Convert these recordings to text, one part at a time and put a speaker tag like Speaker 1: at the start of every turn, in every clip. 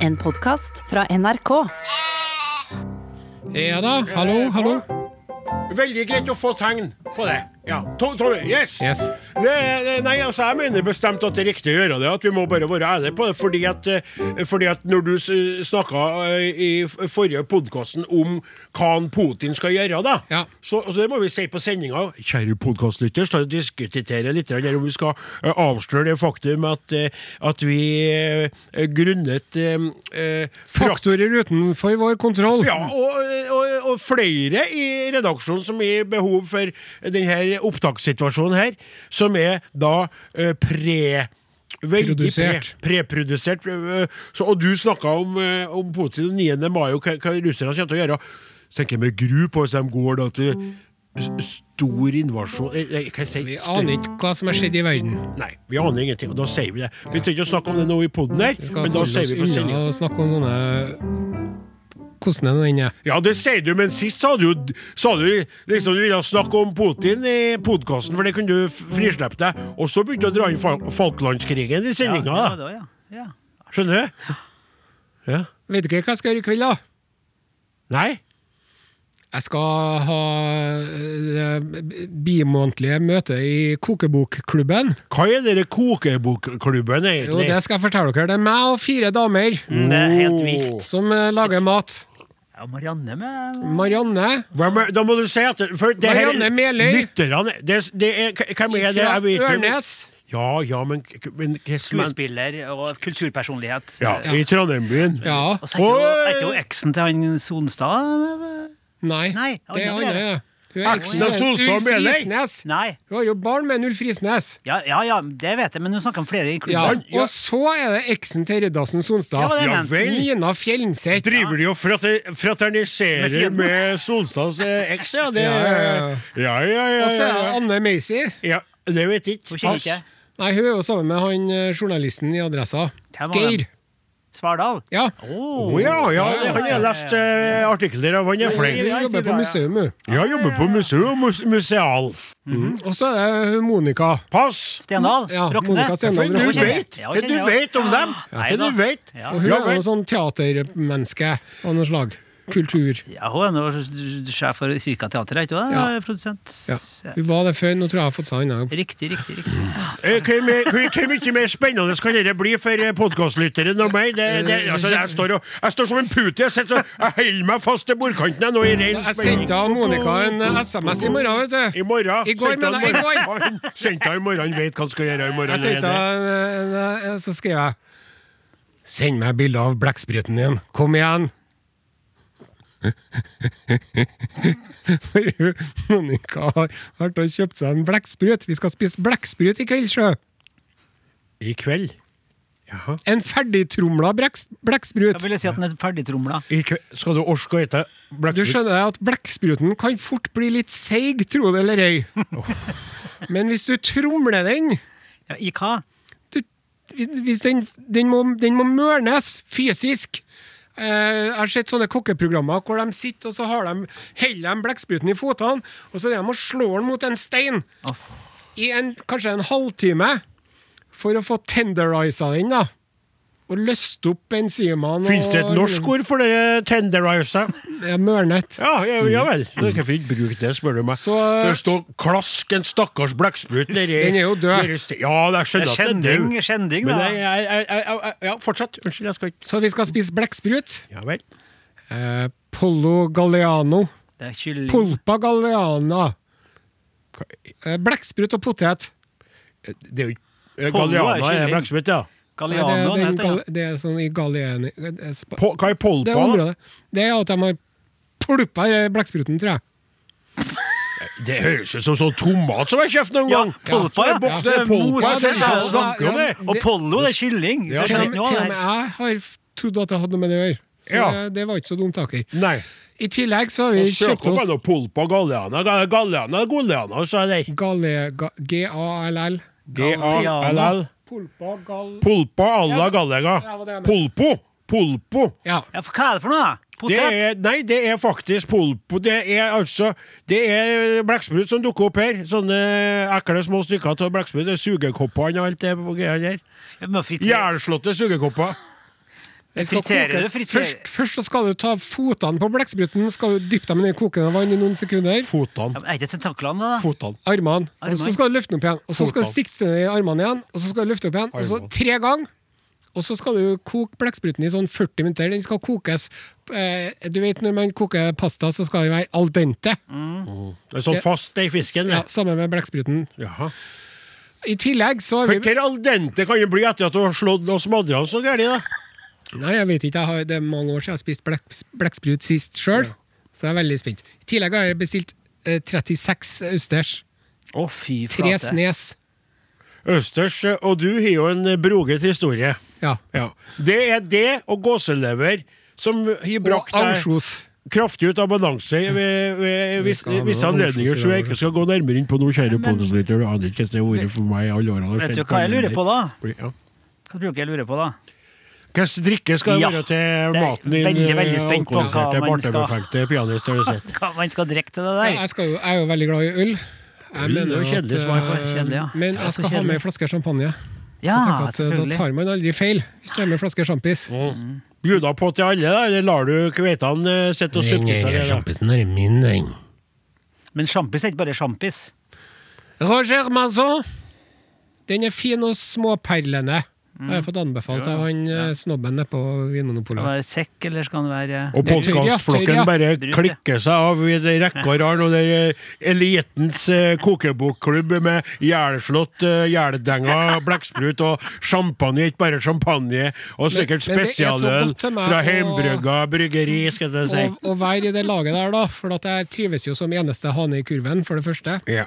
Speaker 1: En podkast fra NRK.
Speaker 2: Ja da, hallo, hallo.
Speaker 3: Veldig greit å få tegn på det. Ja. To, to, yes.
Speaker 2: Yes.
Speaker 3: Det, det, nei, altså, jeg mener bestemt at det er riktig å gjøre det. At vi må bare være ærlige på det. Fordi at, eh, fordi at når du snakka i f- forrige podkasten om hva han Putin skal gjøre, da,
Speaker 2: Ja.
Speaker 3: så, så det må vi si på sendinga. Kjære podkastlytter, skal vi diskutere litt grann her om vi skal eh, avsløre det faktum at, eh, at vi eh, grunnet eh, eh,
Speaker 2: Faktorer utenfor vår kontroll.
Speaker 3: ja, og, og, og flere i redaksjonen som er behov for denne opptakssituasjonen her, som er da eh, pre... Veldig
Speaker 2: Produsert.
Speaker 3: pre- preprodusert. eh, så- og du snakka om, eh, om Putin den 9. mai og hva, hva russerne kommer til å gjøre. Så tenker jeg med gru på hvis de går da til s- stor invasjon eh, eh, Hva jeg sier
Speaker 2: Vi
Speaker 3: jeg?
Speaker 2: aner ikke hva som har skjedd i verden.
Speaker 3: Nei, vi aner ingenting, og da sier vi det. Vi trenger ikke å snakke om det nå i poden her,
Speaker 2: Vi skal
Speaker 3: men da
Speaker 2: holde
Speaker 3: sier
Speaker 2: oss
Speaker 3: vi på sendinga.
Speaker 2: unna og snakke om sånne Hvordan er det nå inne?
Speaker 3: Ja, det sier du, men sist sa du jo sa du liksom du ville snakke om Putin i podkasten, for det kunne du f- frislippe deg. Og så begynte du å dra inn Fal- Falklandskrigen i sendinga.
Speaker 4: Ja, det var det også, ja. Ja.
Speaker 3: Skjønner du? Ja.
Speaker 2: Vet du ikke hva jeg skal gjøre i kveld, da?
Speaker 3: Nei?
Speaker 2: Jeg skal ha eh, det bimånedlige møte i kokebokklubben.
Speaker 3: Hva er dere kokebokklubben,
Speaker 2: Jo,
Speaker 3: egentlig?
Speaker 2: det skal jeg fortelle dere. Det er meg og fire damer
Speaker 3: Mm.
Speaker 4: Det er helt vilt.
Speaker 2: som eh, lager mat.
Speaker 4: Ja, Marianne med
Speaker 2: Marianne
Speaker 3: Hvem er- da må du si at for det her-
Speaker 2: Marianne Meløy.
Speaker 3: Lytterne det, det er, Hvem er det?
Speaker 2: fra
Speaker 3: Jeg vet jo-
Speaker 2: Ørnes.
Speaker 3: Ja, ja, men, men
Speaker 4: skuespiller og kulturpersonlighet.
Speaker 3: Ja, I Trondheimbyen.
Speaker 2: Ja.
Speaker 4: Og så er ikke jo-
Speaker 3: Oi!
Speaker 4: er ikke jo eksen til han Sonstad
Speaker 2: Nei,
Speaker 4: Nei,
Speaker 2: det er
Speaker 4: Anne
Speaker 2: Anne.
Speaker 4: Lene.
Speaker 2: det. Hun er
Speaker 3: Aksel og Solstad
Speaker 2: Ulf
Speaker 3: Meløy.
Speaker 2: Risnes.
Speaker 4: Nei.
Speaker 2: Hun har jo barn med Ulf Risnes.
Speaker 4: Ja, ja, ja, det vet jeg, men hun snakker om flere i
Speaker 2: Ja.
Speaker 4: klubben.
Speaker 3: ja.
Speaker 2: Og så er det eksen til Riddarsen
Speaker 4: Ja,
Speaker 2: Sonstad.
Speaker 4: det
Speaker 3: Ja
Speaker 4: er ment.
Speaker 3: vel.
Speaker 2: Nina Fjellnseth.
Speaker 3: Driver de og frater-
Speaker 4: Med
Speaker 3: fraterniserer
Speaker 4: fienden.
Speaker 3: med Solstads eh, eks, ja? Det,
Speaker 2: Ja, ja,
Speaker 3: ja, ja, ja,
Speaker 2: Og så er det
Speaker 3: ja.
Speaker 2: Anne Macy.
Speaker 3: ja det vet jeg
Speaker 4: Hun
Speaker 3: ikke.
Speaker 4: kjenner ikke.
Speaker 2: Nei, hun er jo sammen med han eh, journalisten i Adressa.
Speaker 4: Hvem var
Speaker 2: Geir.
Speaker 4: det? Svardal. Oh,
Speaker 2: Ja.
Speaker 3: Å ja, ja, det- han har lest eh, artikler av han er
Speaker 2: Hun
Speaker 3: flink.
Speaker 2: jobber på museum, hun. Mhm.
Speaker 3: Ja, jobber på museum, mus- museal.
Speaker 2: Og så er det hun Monica.
Speaker 3: Pass!
Speaker 4: Stendal.
Speaker 2: Ja,
Speaker 4: Rockne.
Speaker 2: Monica Stendal
Speaker 4: Ja,
Speaker 3: Du
Speaker 4: hun
Speaker 2: Rockne.
Speaker 4: kjenner jeg.
Speaker 3: vet
Speaker 4: Ja,
Speaker 3: hva
Speaker 4: hun
Speaker 3: du
Speaker 4: kjenner jeg.
Speaker 3: vet om dem!
Speaker 4: Ja,
Speaker 3: Hva du
Speaker 4: da.
Speaker 3: vet!
Speaker 4: Ja.
Speaker 2: Og hun
Speaker 3: Ja,
Speaker 2: er jo
Speaker 3: vel.
Speaker 2: sånn teatermenneske av noe slag. Kultur.
Speaker 4: Ja, hun er nå sjef for Cirka Teater, er ikke hun?
Speaker 2: Ja.
Speaker 4: Ja. Produsent.
Speaker 2: Ja. Hun var det før, nå tror jeg jeg har fått seg en annen.
Speaker 4: Riktig, riktig, riktig.
Speaker 3: Eh, Hvor mye- hvor- hvor mye mer spennende skal dette bli for podkastlytteren og meg? Det, det, altså, jeg, står og, jeg står som en pute. Jeg, sitter og- jeg holder meg fast til bordkanten jeg nå i ren
Speaker 2: Jeg
Speaker 3: spenning.
Speaker 2: sendte av Monica en eh, SMS i morgen, vet du.
Speaker 3: I morgen.
Speaker 2: I går,
Speaker 3: Sendte han
Speaker 2: mener jeg, i
Speaker 3: morgen.
Speaker 2: går.
Speaker 3: Han Sendte han i morgen, vet hva han skal gjøre i morgen.
Speaker 2: Jeg sendte
Speaker 3: allerede.
Speaker 2: en, en, en, eh, Så skrev jeg Send meg bilde av blekkspruten din. Kom igjen! For hun, Monica har vært og kjøpt seg en blekksprut. Vi skal spise blekksprut i kveld, sjø!
Speaker 3: I kveld. Jaha.
Speaker 2: En ferdigtromla blekks- blekksprut.
Speaker 4: Da vil jeg si at den er ferdigtromla.
Speaker 3: I kveld. Skal du orke å ete
Speaker 2: Du
Speaker 3: blekksprut?
Speaker 2: skjønner at blekkspruten kan fort bli litt seig, tro det eller ei. Men hvis du tromler den
Speaker 4: Ja, I hva?
Speaker 2: du, hvis- hvis den, den, må, den må mørnes fysisk. Eh, jeg har sett sånne kokkeprogrammer hvor de sitter og så har de, heller de blekkspruten i føttene, og så er de og slår den mot en stein
Speaker 4: Å,
Speaker 2: i en, kanskje en halvtime for å få tenderisa den. da Og løste opp enzymene.
Speaker 3: Fins det et norsk ord for det? Tenderizer?
Speaker 2: Ja, mørnet.
Speaker 3: Ja, ja, ja vel. Du kan ikke bruke det, spør du meg.
Speaker 2: Så-
Speaker 3: For å stå og klaske en stakkars blekksprut nedi
Speaker 2: Den er jo død.
Speaker 3: nedi sti- Ja, jeg skjønner at den er
Speaker 4: Skjending,
Speaker 3: død.
Speaker 4: skjending,
Speaker 3: Men
Speaker 4: da.
Speaker 3: jeg, jeg, jeg, jeg, jeg, ja, fortsett. Unnskyld, jeg skal ikke
Speaker 2: Så vi skal spise blekksprut.
Speaker 3: Ja vel.
Speaker 2: Eh, Pollo Galliano.
Speaker 4: Det er kylling.
Speaker 2: Polpa Galliana. Eh, blekksprut og potet.
Speaker 3: Det er jo ikke
Speaker 4: Pollo er
Speaker 3: Galliana er
Speaker 4: kylling.
Speaker 3: blekksprut, ja.
Speaker 2: Nei, det,
Speaker 4: Galliano,
Speaker 2: det,
Speaker 4: den
Speaker 2: er en
Speaker 4: heter
Speaker 2: gal-
Speaker 4: den.
Speaker 2: det er sånn i Galliani det er spa-
Speaker 3: Po- Hva er polpa?
Speaker 2: Det området. Det er at de har pluppa i blekkspruten, tror jeg.
Speaker 3: Det høres ut som sånn tomat som jeg kjøpte noen
Speaker 4: Ja,
Speaker 3: gang.
Speaker 4: polpa,
Speaker 3: ja.
Speaker 4: ja.
Speaker 3: Boks, det er
Speaker 4: Ja,
Speaker 3: polpa,
Speaker 4: mos,
Speaker 3: det er
Speaker 4: ja,
Speaker 3: det vi snakker om det.
Speaker 4: Og
Speaker 2: Det-
Speaker 4: Pollo, det er kylling. Så jeg
Speaker 2: Til
Speaker 4: skjønner
Speaker 2: og
Speaker 4: ikke
Speaker 2: med
Speaker 4: noe av
Speaker 2: til og
Speaker 4: det her.
Speaker 2: med jeg har f- trodd at det hadde med det å gjøre. Så
Speaker 3: Ja.
Speaker 2: det, det var ikke så dumt, taker.
Speaker 3: Nei.
Speaker 2: I tillegg så har vi
Speaker 3: Søk
Speaker 2: kjøpt
Speaker 3: opp
Speaker 2: oss
Speaker 3: en polpa galliana. Ga- Galliana galliana, sa jeg der.
Speaker 2: Galle... Ga- G-A-L-L.
Speaker 3: G-a-l-l.
Speaker 2: Polpa gal...
Speaker 3: Polpa à la gallega.
Speaker 2: Ja, det var det jeg mente.
Speaker 3: Polpo. Polpo.
Speaker 2: Ja.
Speaker 4: Ja, for hva er det for noe, da?
Speaker 3: Det
Speaker 4: Potet?
Speaker 3: er, nei, det er faktisk polpo. Det er altså Det er blekksprut som dukker opp her. Sånne ekle små stykker av blekksprut. Det er Sugekoppene og alt det greiene der.
Speaker 4: Jeg må fritere.
Speaker 3: Jernslåtte sugekopper.
Speaker 2: Den skal
Speaker 4: Friterer du?
Speaker 2: kokes.
Speaker 4: Friterer-
Speaker 2: Først, først så skal du ta fotene på blekkspruten, skal du dyppe dem i det kokende vann i noen sekunder.
Speaker 3: Fotene.
Speaker 4: men Er det tentaklene, da?
Speaker 3: Fotene.
Speaker 2: Armene. Og så
Speaker 4: Armene.
Speaker 2: skal du løfte den opp igjen. Og så skal du
Speaker 3: Fotene.
Speaker 2: stikke den i armene igjen, og så skal du løfte opp igjen. Og så
Speaker 3: Armene.
Speaker 2: tre ganger. Og så skal du koke blekkspruten i sånn 40 minutter. Den skal kokes eh, Du vet når man koker pasta, så skal den være al dente.
Speaker 3: Det er sånn fast i fisken.
Speaker 2: Ja,
Speaker 3: det.
Speaker 2: Sammen med blekkspruten.
Speaker 3: Jaha.
Speaker 2: I tillegg så har
Speaker 3: Men
Speaker 2: vi
Speaker 3: Hvor al dente kan det bli etter at du har slått og smadra den så gærent? da?
Speaker 2: Nei, jeg vet ikke. Jeg har, det er mange år siden jeg har spist blek, blekksprut sist sjøl, så jeg er veldig spent. I tillegg har jeg bestilt eh, 36 østers.
Speaker 4: Å, fy
Speaker 2: Tre
Speaker 4: flate.
Speaker 2: snes.
Speaker 3: Østers, eh, og du har jo en broget historie.
Speaker 2: Ja.
Speaker 3: Ja. Det er det og gåselever som har brakt
Speaker 2: Og
Speaker 3: deg
Speaker 2: ansjos.
Speaker 3: kraftig ut av balanse ved, ved vis,
Speaker 2: skal ha
Speaker 3: visse
Speaker 2: noe
Speaker 3: anledninger
Speaker 2: ansjos i
Speaker 3: som jeg
Speaker 2: dag.
Speaker 3: ikke skal gå nærmere inn på nå, kjære podkastlytter. Du aner ikke hva det ordet for meg i alle årene. har
Speaker 4: Vet du
Speaker 3: skjedd
Speaker 4: hva jeg lurer
Speaker 3: kalender.
Speaker 4: på, da?
Speaker 3: Ja.
Speaker 4: Hva tror du jeg lurer på, da?
Speaker 3: Hva slags drikke skal det
Speaker 4: Ja,
Speaker 3: være
Speaker 4: det
Speaker 3: til
Speaker 4: er
Speaker 3: maten din?
Speaker 4: veldig, veldig
Speaker 3: eh,
Speaker 4: spent på hva
Speaker 3: alkoholiserte,
Speaker 4: man skal-
Speaker 3: bartebefengte pianist, har du sett.
Speaker 4: Hva man skal drikke til det
Speaker 2: Ja,
Speaker 4: der?
Speaker 2: jeg, skal jo, jeg er jo veldig glad i øl. Jeg
Speaker 3: Øl er
Speaker 2: mener
Speaker 3: jo
Speaker 2: at,
Speaker 3: kjedelig som er
Speaker 4: faen.
Speaker 2: eh,
Speaker 4: Kjedelig, ja.
Speaker 2: Men
Speaker 4: Det er
Speaker 2: jeg
Speaker 4: så
Speaker 2: skal ha
Speaker 4: kjedelig.
Speaker 2: med en flaske champagne.
Speaker 4: Ja,
Speaker 2: Jeg tenker at, eh, da
Speaker 4: selvfølgelig.
Speaker 2: tar man aldri feil hvis du er med en flaske sjampis.
Speaker 3: Bjuda på til alle, da, eller lar du kveitene eh, sitte og suppe seg? det, da?
Speaker 2: er min, den.
Speaker 4: Men sjampis er ikke bare sjampis.
Speaker 2: Roger Mazon. Den er fin og småperlende. Har jeg fått anbefalt av han eh, snobben nede på
Speaker 4: Skal det
Speaker 2: Vinmonopolet.
Speaker 4: være sekk, eller skal det være
Speaker 3: Og
Speaker 2: Det er tøyre, ja. Tøyre,
Speaker 3: podkastflokken
Speaker 2: ja.
Speaker 3: bare
Speaker 4: Bruk det.
Speaker 3: klikker seg av i de rekke og rad, og det er elitens eh, kokebokklubb med jæleslått, eh, jæledenga, blekksprut og champagne, ikke bare champagne, og sikkert
Speaker 2: men det er så
Speaker 3: spesialøl
Speaker 2: godt til meg
Speaker 3: fra
Speaker 2: å-
Speaker 3: heimbrygga bryggeri, skal jeg si.
Speaker 2: Og, og være i det laget der, da. For at jeg trives jo som eneste hane i kurven, for det første.
Speaker 3: Ja.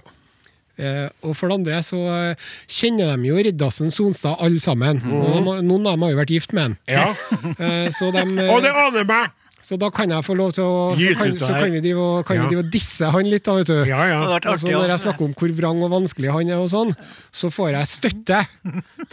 Speaker 2: Eh, og for det andre så eh, kjenner de jo Riddarsen Sonstad alle sammen.
Speaker 4: Mm.
Speaker 2: Og de, har- noen av dem har jo vært gift med han.
Speaker 3: ja.
Speaker 2: Eh, så, dem, eh,
Speaker 3: Og det aner meg!
Speaker 2: så da kan jeg få lov til å Så
Speaker 3: Gyt
Speaker 2: kan,
Speaker 3: ut av
Speaker 2: så
Speaker 3: her.
Speaker 2: kan vi drive og, kan
Speaker 3: Ja.
Speaker 2: vi drive og disse han litt, da, vet du.
Speaker 3: Ja, ja.
Speaker 4: Det hadde vært
Speaker 2: Og så
Speaker 4: artig
Speaker 2: når jeg
Speaker 4: å
Speaker 2: snakker om hvor vrang og vanskelig han er, og sånn, så får jeg støtte.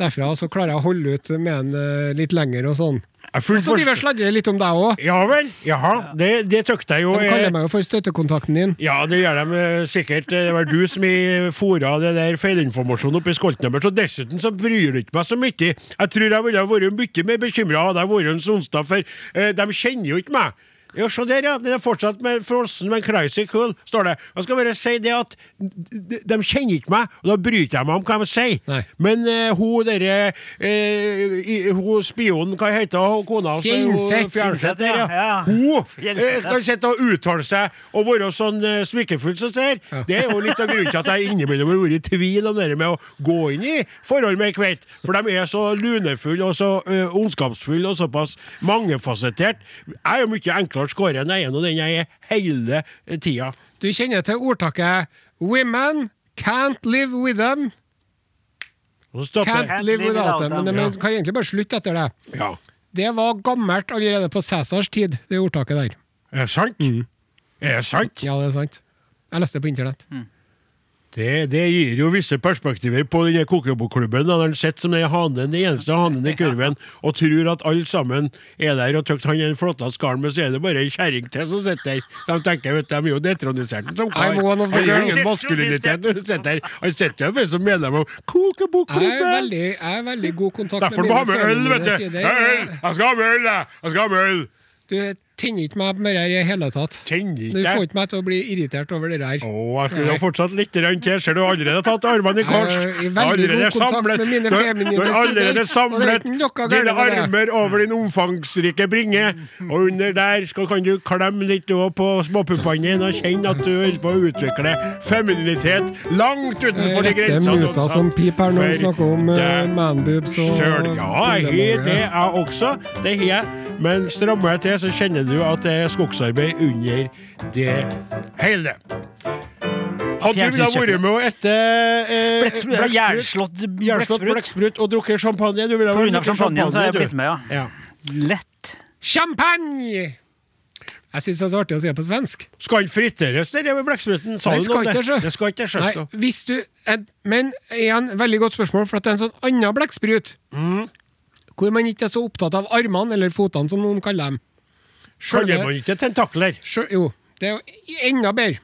Speaker 2: Derfra så klarer jeg å holde ut med han eh, litt lenger og sånn.
Speaker 3: Jeg fullt
Speaker 2: Og så driver jeg og sladrer litt om deg òg.
Speaker 3: Ja vel? Jaha. Det, det tøkte jeg jo.
Speaker 2: De kaller
Speaker 3: eh,
Speaker 2: meg jo for støttekontakten din.
Speaker 3: Ja, det gjør de eh, sikkert. Det var du som i fora det der feilinformasjonen oppi skolten deres. Og dessuten så bryr det ikke meg så mye. Jeg tror jeg ville ha vært mye mer bekymra hadde jeg vært en Sonstad, for eh, de kjenner jo ikke meg. Ja, se der, ja. Det er fortsatt med Frossen, men Crazy Cool, står det. Jeg skal bare si det at de, de kjenner ikke meg, og da bryter jeg meg om hva de sier.
Speaker 2: Nei.
Speaker 3: Men eh, hun derre eh, i- Hun spionen, hva heter hun? Kona hans? hun-
Speaker 2: Fjellseth.
Speaker 3: Fjellseth, der,
Speaker 4: Ja, ja.
Speaker 3: Hun eh,
Speaker 4: Fjellseth.
Speaker 3: kan sitte og uttale seg og være sånn eh, svikefull som ser. Det er jo litt av grunnen til at jeg innimellom har vært i tvil om det der med å gå inn i forhold med Kveit. For de er så lunefulle og så eh, ondskapsfulle og såpass mangefasettert. Jeg er jo mye enklere skåre enn jeg er nå, den jeg er hele tida.
Speaker 2: Du kjenner til ordtaket 'Women can't live with them'.
Speaker 3: Og så stopper jeg.
Speaker 2: Can't live without them. Men de
Speaker 4: Ja.
Speaker 2: kan egentlig bare slutte etter det.
Speaker 3: Ja.
Speaker 2: Det var gammelt allerede på Cæsars tid, det ordtaket der.
Speaker 3: Er det sant? Er det sant?
Speaker 2: Ja, det er sant. Jeg leste det på internett.
Speaker 3: Det, det gir jo visse perspektiver på denne kokebokklubben. da. Han sitter som den hanen, den eneste hanen i kurven og tror at alle sammen er der og tykker han er den flotteste karen, men så er det bare ei kjerring til som sitter der. De tenker vet du, de er jo detronisert han som kar.
Speaker 2: I'm one of the
Speaker 3: Han har ingen
Speaker 2: girls.
Speaker 3: maskulinitet når han sitter der. Han sitter jo bare som medlem
Speaker 2: Jeg
Speaker 3: av
Speaker 2: er
Speaker 3: kokebokklubben!
Speaker 2: veldig, jeg er veldig god kontakt
Speaker 3: Derfor må du ha med øl, vet du!
Speaker 2: sider.
Speaker 3: Jeg har øl! Jeg skal ha med øl, jeg! Jeg skal ha med øl!
Speaker 2: Du tenner ikke meg med det her i hele tatt.
Speaker 3: Kjenner
Speaker 2: Du får
Speaker 3: ikke
Speaker 2: ikke meg til å bli irritert over det her.
Speaker 3: Å, jeg skulle ha fortsatt litt grann til. Ser du har allerede tatt armene i kors?
Speaker 2: Jeg er Eh, i
Speaker 3: Du har
Speaker 2: veldig god
Speaker 3: allerede
Speaker 2: kontakt
Speaker 3: samlet-
Speaker 2: med mine
Speaker 3: du har-
Speaker 2: feminine
Speaker 3: Du har allerede
Speaker 2: sider, og det er
Speaker 3: samlet
Speaker 2: ikke noe galt
Speaker 3: dine
Speaker 2: med det.
Speaker 3: armer over din omfangsrike bringe, og under der skal, kan du klemme litt også på småpuppene dine og kjenne at du holder på å utvikle femininitet langt utenfor de
Speaker 2: Det er
Speaker 3: grensene du har
Speaker 2: Eh, musa som
Speaker 3: satt
Speaker 2: piper her når vi
Speaker 3: for
Speaker 2: snakker om eh,
Speaker 3: deg
Speaker 2: manboobs og
Speaker 3: sjøl. Ja, jeg har
Speaker 2: problemer.
Speaker 3: det, jeg også. Det har jeg. Men strammer jeg til, så kjenner du at det er skogsarbeid under det hele. Hadde du villet vært med og ette eh,
Speaker 4: Blekksprut, ja, jernslått
Speaker 3: jernslått
Speaker 4: blekksprut.
Speaker 3: blekksprut og drukket champagne? Du ville
Speaker 4: På grunn av
Speaker 3: drukket
Speaker 4: champagnen så har jeg
Speaker 3: du.
Speaker 4: blitt med, ja.
Speaker 3: Ja.
Speaker 4: Lett.
Speaker 2: Champagne! Jeg syns det er så artig å si det på svensk.
Speaker 3: Skal den friteres, det der med blekkspruten? Sa
Speaker 2: Nei,
Speaker 3: du noe om
Speaker 2: skal
Speaker 3: det?
Speaker 2: ikke, sjø.
Speaker 3: Det skal ikke sjø, skal.
Speaker 2: Nei, hvis du, eh, men igjen, veldig godt spørsmål, for at det er en sånn annen blekksprut.
Speaker 3: Mm.
Speaker 2: Hvor man ikke er så opptatt av armene eller fotene, som noen kaller dem. Sjølve-
Speaker 3: Kaller man ikke tentakler?
Speaker 2: sjøl- jo, det er jo enda bedre.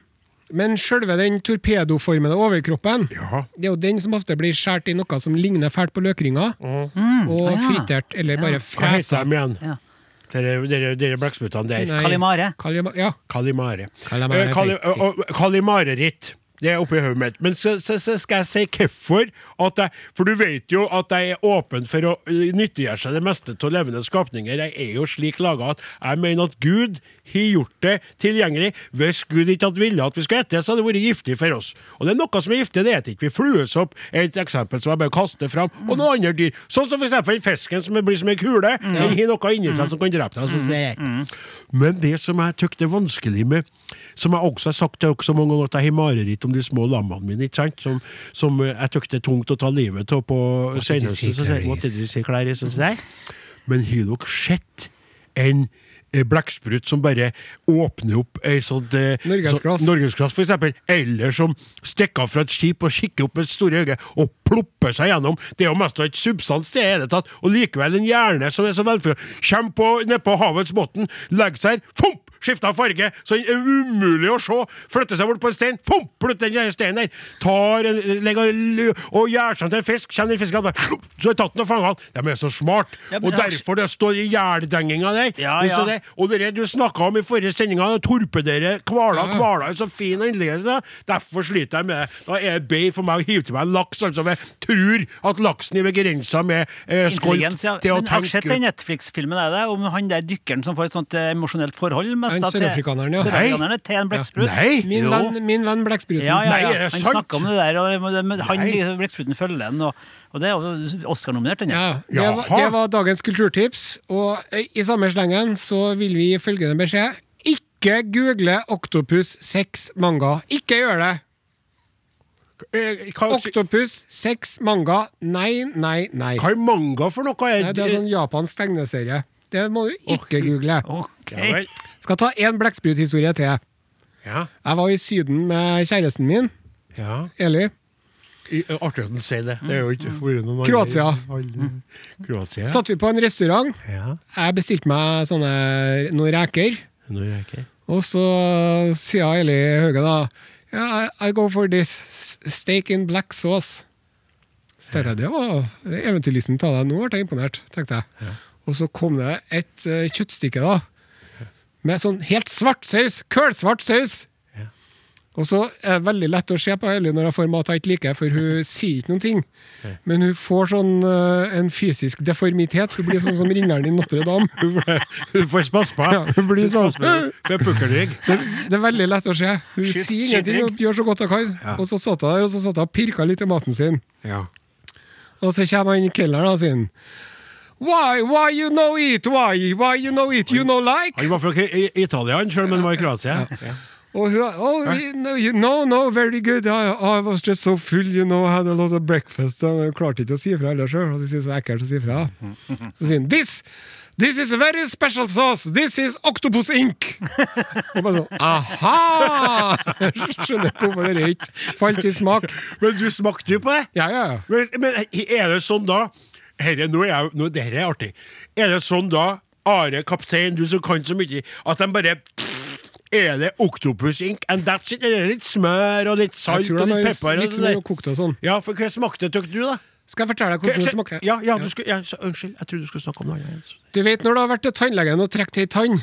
Speaker 2: Men sjølve den torpedoformede overkroppen
Speaker 3: Ja.
Speaker 2: det er jo den som ofte blir skåret i noe som ligner fælt på løkringer. Og
Speaker 4: Ah, ja.
Speaker 2: fritert, eller bare
Speaker 3: Hva heter
Speaker 2: fresa.
Speaker 3: de igjen?
Speaker 4: Ja.
Speaker 3: Dere, dere, dere blekksprutene der.
Speaker 2: Nei.
Speaker 4: Kalimare.
Speaker 2: Kalima- Ja.
Speaker 3: Kalimare.
Speaker 2: Kalimare,
Speaker 3: Eh, Kali,
Speaker 2: riktig.
Speaker 3: og- og- Kalimareritt. Det er oppi hodet mitt. Men så, så, så skal jeg si hvorfor. At jeg, for du vet jo at jeg er åpen for å eh, nyttiggjøre seg det meste av levende skapninger. Jeg er jo slik laga at jeg mener at Gud har gjort det tilgjengelig. Hvis Gud ikke hadde villet at vi skulle ete, så hadde det vært giftig for oss. Og det er noe som er giftig, det eter ikke vi. Fluesopp er et eksempel som jeg bare kaster fram. Og noen andre dyr. Sånn som for eksempel fisken som blir som ei kule. Den har noe inni seg som kan drepe deg. Så sier jeg, men det som jeg tykte er vanskelig med, som jeg også har sagt til dere så mange ganger, at jeg har mareritt om de små lammene mine, ikke sant? Som, som eh, jeg tykte er tungt å ta livet av på senere.
Speaker 2: si,
Speaker 3: Så sier jeg,
Speaker 2: Clarice?
Speaker 3: «Hva er det du sier, Clarice?» Så sier jeg, Men har dere sett en eh, blekksprut som bare åpner opp ei sånn eh,
Speaker 2: Norgesglass.
Speaker 3: sånn- Norgesglass, for eksempel, eller som stikker av fra et skip og kikker opp med store øyne og plopper seg gjennom. Det er jo mest av et substans, det er det tatt, og likevel en hjerne som er så velfungerende, kommer på, ned på havets bunn, legger seg her, fomp, skifter farge, så den er umulig å se, flytter seg bort på en stein, fomp, flytter den steinen der, tar en, legger, lø- og gjør seg til en fisk, kjenner den fisken, bare, så er tatt den og fanget han. De er så smart,
Speaker 4: Ja, men
Speaker 3: og
Speaker 4: det er-
Speaker 3: derfor det står i hjeldenginga der.
Speaker 4: Ja,
Speaker 3: Hvis
Speaker 4: ja.
Speaker 3: det- og det du snakka om i forrige sending, torpedere hvaler.
Speaker 4: Mm.
Speaker 3: Hvaler er en så fin innledelse. Derfor sliter jeg med det. Da er det bedre for meg å hive til meg en laks. Altså, for jeg tror at laksen er begrensa med eh, skolt
Speaker 4: Intelligens, ja.
Speaker 3: til å
Speaker 4: Men har du
Speaker 3: tenke
Speaker 4: sett den Netflix-filmen er det, om han der dykkeren som får et sånt eh, emosjonelt forhold? mest
Speaker 2: Han
Speaker 4: da til-
Speaker 2: sørafrikaneren, ja.
Speaker 4: Sørafrikanerne til en blekksprut.
Speaker 3: Nei!
Speaker 2: Min
Speaker 4: Jo.
Speaker 2: venn, min venn blekkspruten.
Speaker 4: Ja, ja,
Speaker 3: Nei,
Speaker 4: ja.
Speaker 3: er det
Speaker 4: Han
Speaker 3: sant?
Speaker 4: snakka om det der, og men- men han
Speaker 3: Nei.
Speaker 4: liksom, blekkspruten følger den, og, og det er jo Oscar-nominert, den.
Speaker 2: Ja,
Speaker 4: ja.
Speaker 2: det, var,
Speaker 3: Jaha.
Speaker 2: det var dagens kulturtips. Og eh, i samme slengen så vil vi gi følgende beskjed. Ikke google Octopus 6 manga. Ikke gjør det!
Speaker 3: Eh, hva,
Speaker 2: Octopus 6 manga. Nei, nei, nei.
Speaker 3: hva er manga for noe? Er,
Speaker 2: Nei, det er sånn japansk tegneserie. Det må du ikke google.
Speaker 4: Ok.
Speaker 3: ja, vel.
Speaker 2: Skal ta én blekkspruthhistorie til.
Speaker 3: ja.
Speaker 2: Jeg var i Syden med kjæresten min,
Speaker 3: ja.
Speaker 2: Eli.
Speaker 3: I- eh, Artig at han sier det. Det er jo
Speaker 4: Mm.
Speaker 3: ikke vært noen andre-
Speaker 2: Kroatia.
Speaker 3: alle- Kroatia.
Speaker 2: Satt vi på en restaurant.
Speaker 3: Ja.
Speaker 2: Jeg bestilte meg sånne, noen reker.
Speaker 3: Nå er jeg ikke
Speaker 2: Og så eh, sier Eli Hauge da yeah, I, I go for this steak in black sauce. Så tenkte jeg, Det var eventyrlysten til deg. Nå ble jeg imponert. tenkte jeg. Og så kom det et eh, kjøttstykke da, med sånn helt svart saus. Kølsvart saus! Og så er det veldig lett å se på Eli når hun får mat hun ikke liker, for hun sier ikke noen ting. Men hun får sånn eh, en fysisk deformitet. Hun blir sånn som ringeren i Notre-Dame.
Speaker 3: Hun får spasse på.
Speaker 2: Ja, hun blir sånn.
Speaker 3: Får pukkelrygg.
Speaker 2: Det er veldig lett å se. Hun
Speaker 3: Skyt,
Speaker 2: sier ingenting
Speaker 3: skyt
Speaker 2: og gjør så godt hun kan. Og så satt hun der og så satt hun og pirka litt i maten sin.
Speaker 3: Ja.
Speaker 2: Og så kommer han kelneren og sier Why, why you know it, why, why you know it, you know like?
Speaker 3: Han var fra Kri- I- Italia, han, selv om han var i Kroatia. Ja.
Speaker 2: Og hun oh, you know, you- No, no, very good. I, I was just so full, you know, had a lot of breakfast. Og hun klarte ikke å si fra heller sjøl. Det synes jeg er ekkelt å si fra. Så sier han This, this is a very special sauce. This is octopus ink. Og bare sånn Aha! Skjønner ikke hvorfor det ikke falt i smak.
Speaker 3: Men du smakte jo på det!
Speaker 2: Ja, ja, ja.
Speaker 3: Men, men er det sånn da herre, nå er jeg, nå, Dette er artig. Er det sånn da, Are kaptein, du som kan så mye, at de bare Er det octopus ink and that's it? Eller litt smør og litt salt
Speaker 2: Jeg tror
Speaker 3: og
Speaker 2: han
Speaker 3: litt
Speaker 2: har
Speaker 3: pepper?
Speaker 2: litt
Speaker 3: og
Speaker 2: smør
Speaker 3: sånn
Speaker 2: og kokt og sånn.
Speaker 3: der? Ja, for hva smakte det du, da?
Speaker 2: Skal jeg fortelle deg hvordan det smaker?
Speaker 3: Ja, ja, du skulle, ja, så- unnskyld, jeg trodde du skulle snakke om noe annet.
Speaker 2: Du vet når du har vært til tannlegen og trukket ei tann,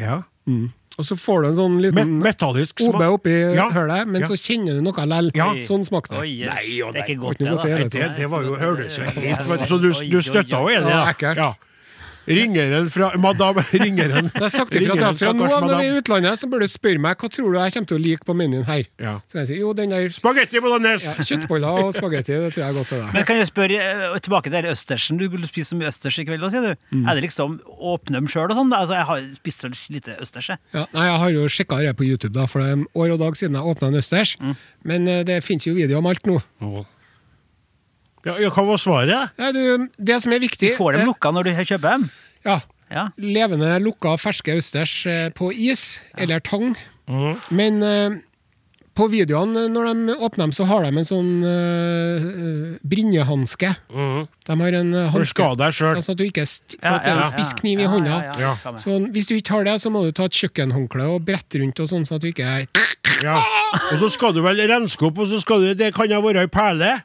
Speaker 3: Ja.
Speaker 2: og så får du en sånn
Speaker 3: Me
Speaker 2: liten
Speaker 3: metallisk smak.
Speaker 2: OB oppi
Speaker 3: Ja.
Speaker 2: hølet, men
Speaker 3: Ja.
Speaker 2: så kjenner du noe lell.
Speaker 3: Ja.
Speaker 2: Sånn smakte
Speaker 4: Oi,
Speaker 2: det.
Speaker 4: det
Speaker 3: Nei, og
Speaker 4: er
Speaker 3: nei.
Speaker 4: ikke godt,
Speaker 2: Det var ikke noe godt,
Speaker 4: da.
Speaker 2: det,
Speaker 3: Nei,
Speaker 2: vet
Speaker 3: det, det var jo høles jo helt Så du, du
Speaker 4: Oi,
Speaker 3: støtta jo
Speaker 4: oi, oi.
Speaker 3: enig,
Speaker 2: Ja,
Speaker 3: da.
Speaker 2: ekkelt.
Speaker 3: Ja. Ringeren fra Madame Ringeren.
Speaker 2: Jeg har sagt ifra til deg fra nå av når vi er i utlandet, så bør du spørre meg hva tror du jeg kommer til å like på menyen her.
Speaker 3: Ja.
Speaker 2: Så kan jeg si jo, den der
Speaker 3: Spagetti bolognese!
Speaker 2: kjøttboller og spagetti, det tror jeg er godt til deg.
Speaker 4: Men kan jeg spørre eh, tilbake til det østersen? Du skulle spise så mye østers i kveld òg, sier du.
Speaker 3: Mm.
Speaker 4: Er det liksom åpne dem sjøl og sånn? da? Altså, jeg har spist så lite østers, jeg.
Speaker 2: Ja, nei, jeg har jo sjekka det på YouTube, da, for det er år og dag siden jeg åpna en østers.
Speaker 4: Mm.
Speaker 2: Men eh, det fins jo video om alt nå.
Speaker 3: Ja, ja, hva var svaret?
Speaker 2: Nei, du, det som er
Speaker 4: Du
Speaker 2: viktig
Speaker 4: får dem
Speaker 2: eh,
Speaker 4: lukka når du kjøper dem.
Speaker 2: Ja,
Speaker 4: Ja.
Speaker 2: levende lukka ferske østers eh, på is, eller tang. Men eh, På videoene, når de åpner dem, så har de en sånn øh, øh, brinjehanske. De har en øh,
Speaker 3: For å
Speaker 2: hanske.
Speaker 3: skade deg sjøl.
Speaker 2: Altså at du ikke st for
Speaker 4: Ja,
Speaker 2: at det er
Speaker 4: ja,
Speaker 2: en
Speaker 4: ja.
Speaker 2: spiss kniv i
Speaker 4: Ja,
Speaker 2: hånda.
Speaker 4: ja,
Speaker 3: Ja.
Speaker 4: ja, samme.
Speaker 2: Så hvis du ikke har det, så må du ta et kjøkkenhåndkle og brette rundt, og sånn, sånn at du ikke
Speaker 3: Ja. Og så skal du vel renske opp, og så skal du Det kan da være ei perle.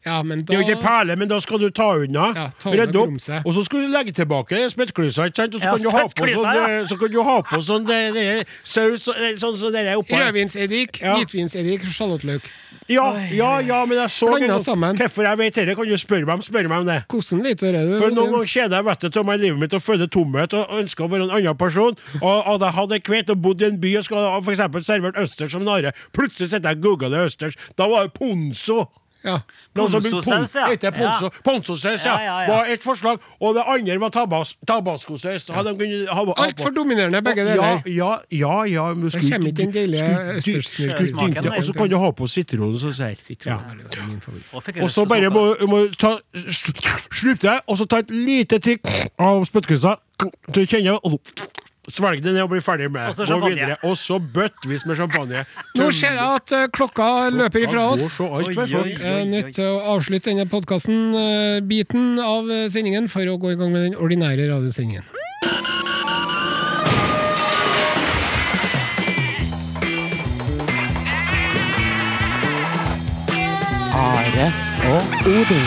Speaker 2: Ja, men
Speaker 3: Det
Speaker 2: da
Speaker 3: er jo ikke ei perle, men da skal du ta unna,
Speaker 2: Ja, ta unna
Speaker 3: rydde opp,
Speaker 2: grumset.
Speaker 3: og så skal du legge tilbake spyttklysa, ikke sant? Og så
Speaker 4: Ja,
Speaker 3: kan du ha på
Speaker 4: spyttklysa,
Speaker 3: sånn,
Speaker 4: ja.
Speaker 3: eh, så kan du ha på sånn det- det- saus og- eh, Sånn som det der oppå her.
Speaker 2: Rødvinseddik,
Speaker 3: Ja.
Speaker 2: hvitvinseddik, sjalottløk.
Speaker 3: Ja, ja, ja, men jeg så
Speaker 2: Blanda
Speaker 3: ikke noe-
Speaker 2: sammen.
Speaker 3: Hvorfor jeg vet dette, kan du spørre meg om, spørre meg om det.
Speaker 2: Hvordan vet du det? du?
Speaker 3: For noen ganger kjeder jeg vettet av meg i livet mitt og føler tomhet og ønsker å være en annen person. Og hadde jeg hatt en kvett og bodd i en by og skal ha for eksempel servert østers som nare, plutselig sitter jeg og googler østers. Da var det ponzo.
Speaker 2: Ja.
Speaker 3: Noen som brukte
Speaker 4: Ponzosaus,
Speaker 3: pon-
Speaker 4: ja.
Speaker 3: heter ponzo- Ponzosaus, ja.
Speaker 4: Ja, ja, ja.
Speaker 3: Var ett forslag. Og det andre var tabas tabacosaus. Ja.
Speaker 2: Altfor dominerende, begge deler.
Speaker 3: Ja, ja, ja. ja men skulle-
Speaker 2: kommer ikke eh, den deilige
Speaker 3: skulle-
Speaker 2: østerssmaken
Speaker 3: skulle- skulle-
Speaker 4: der.
Speaker 3: Og så kan du ha på sitron. Så sier.
Speaker 2: Sitron
Speaker 3: Ja.
Speaker 2: er jo min favoritt.
Speaker 4: Og fikk jeg
Speaker 3: Og
Speaker 4: lyst
Speaker 3: så
Speaker 4: til å
Speaker 3: bare
Speaker 4: snakke.
Speaker 3: må må du ta Slupp deg, og så ta et lite trykk av spyttkvista. Du kjenner og Svelg det ned og bli ferdig med
Speaker 4: Og så
Speaker 3: det. Gå
Speaker 4: champagne.
Speaker 3: videre. Og så bøttvis med champagne.
Speaker 2: Nå ser jeg at eh, klokka løper ifra
Speaker 3: Ja,
Speaker 2: oss.
Speaker 3: Går så alt
Speaker 4: Oi,
Speaker 3: for
Speaker 4: oi,
Speaker 3: fort.
Speaker 4: oi.
Speaker 2: Jeg er nødt til å avslutte denne podkasten-biten av eh, sendingen for å gå i gang med den ordinære radiosendingen.
Speaker 5: Are og Odin.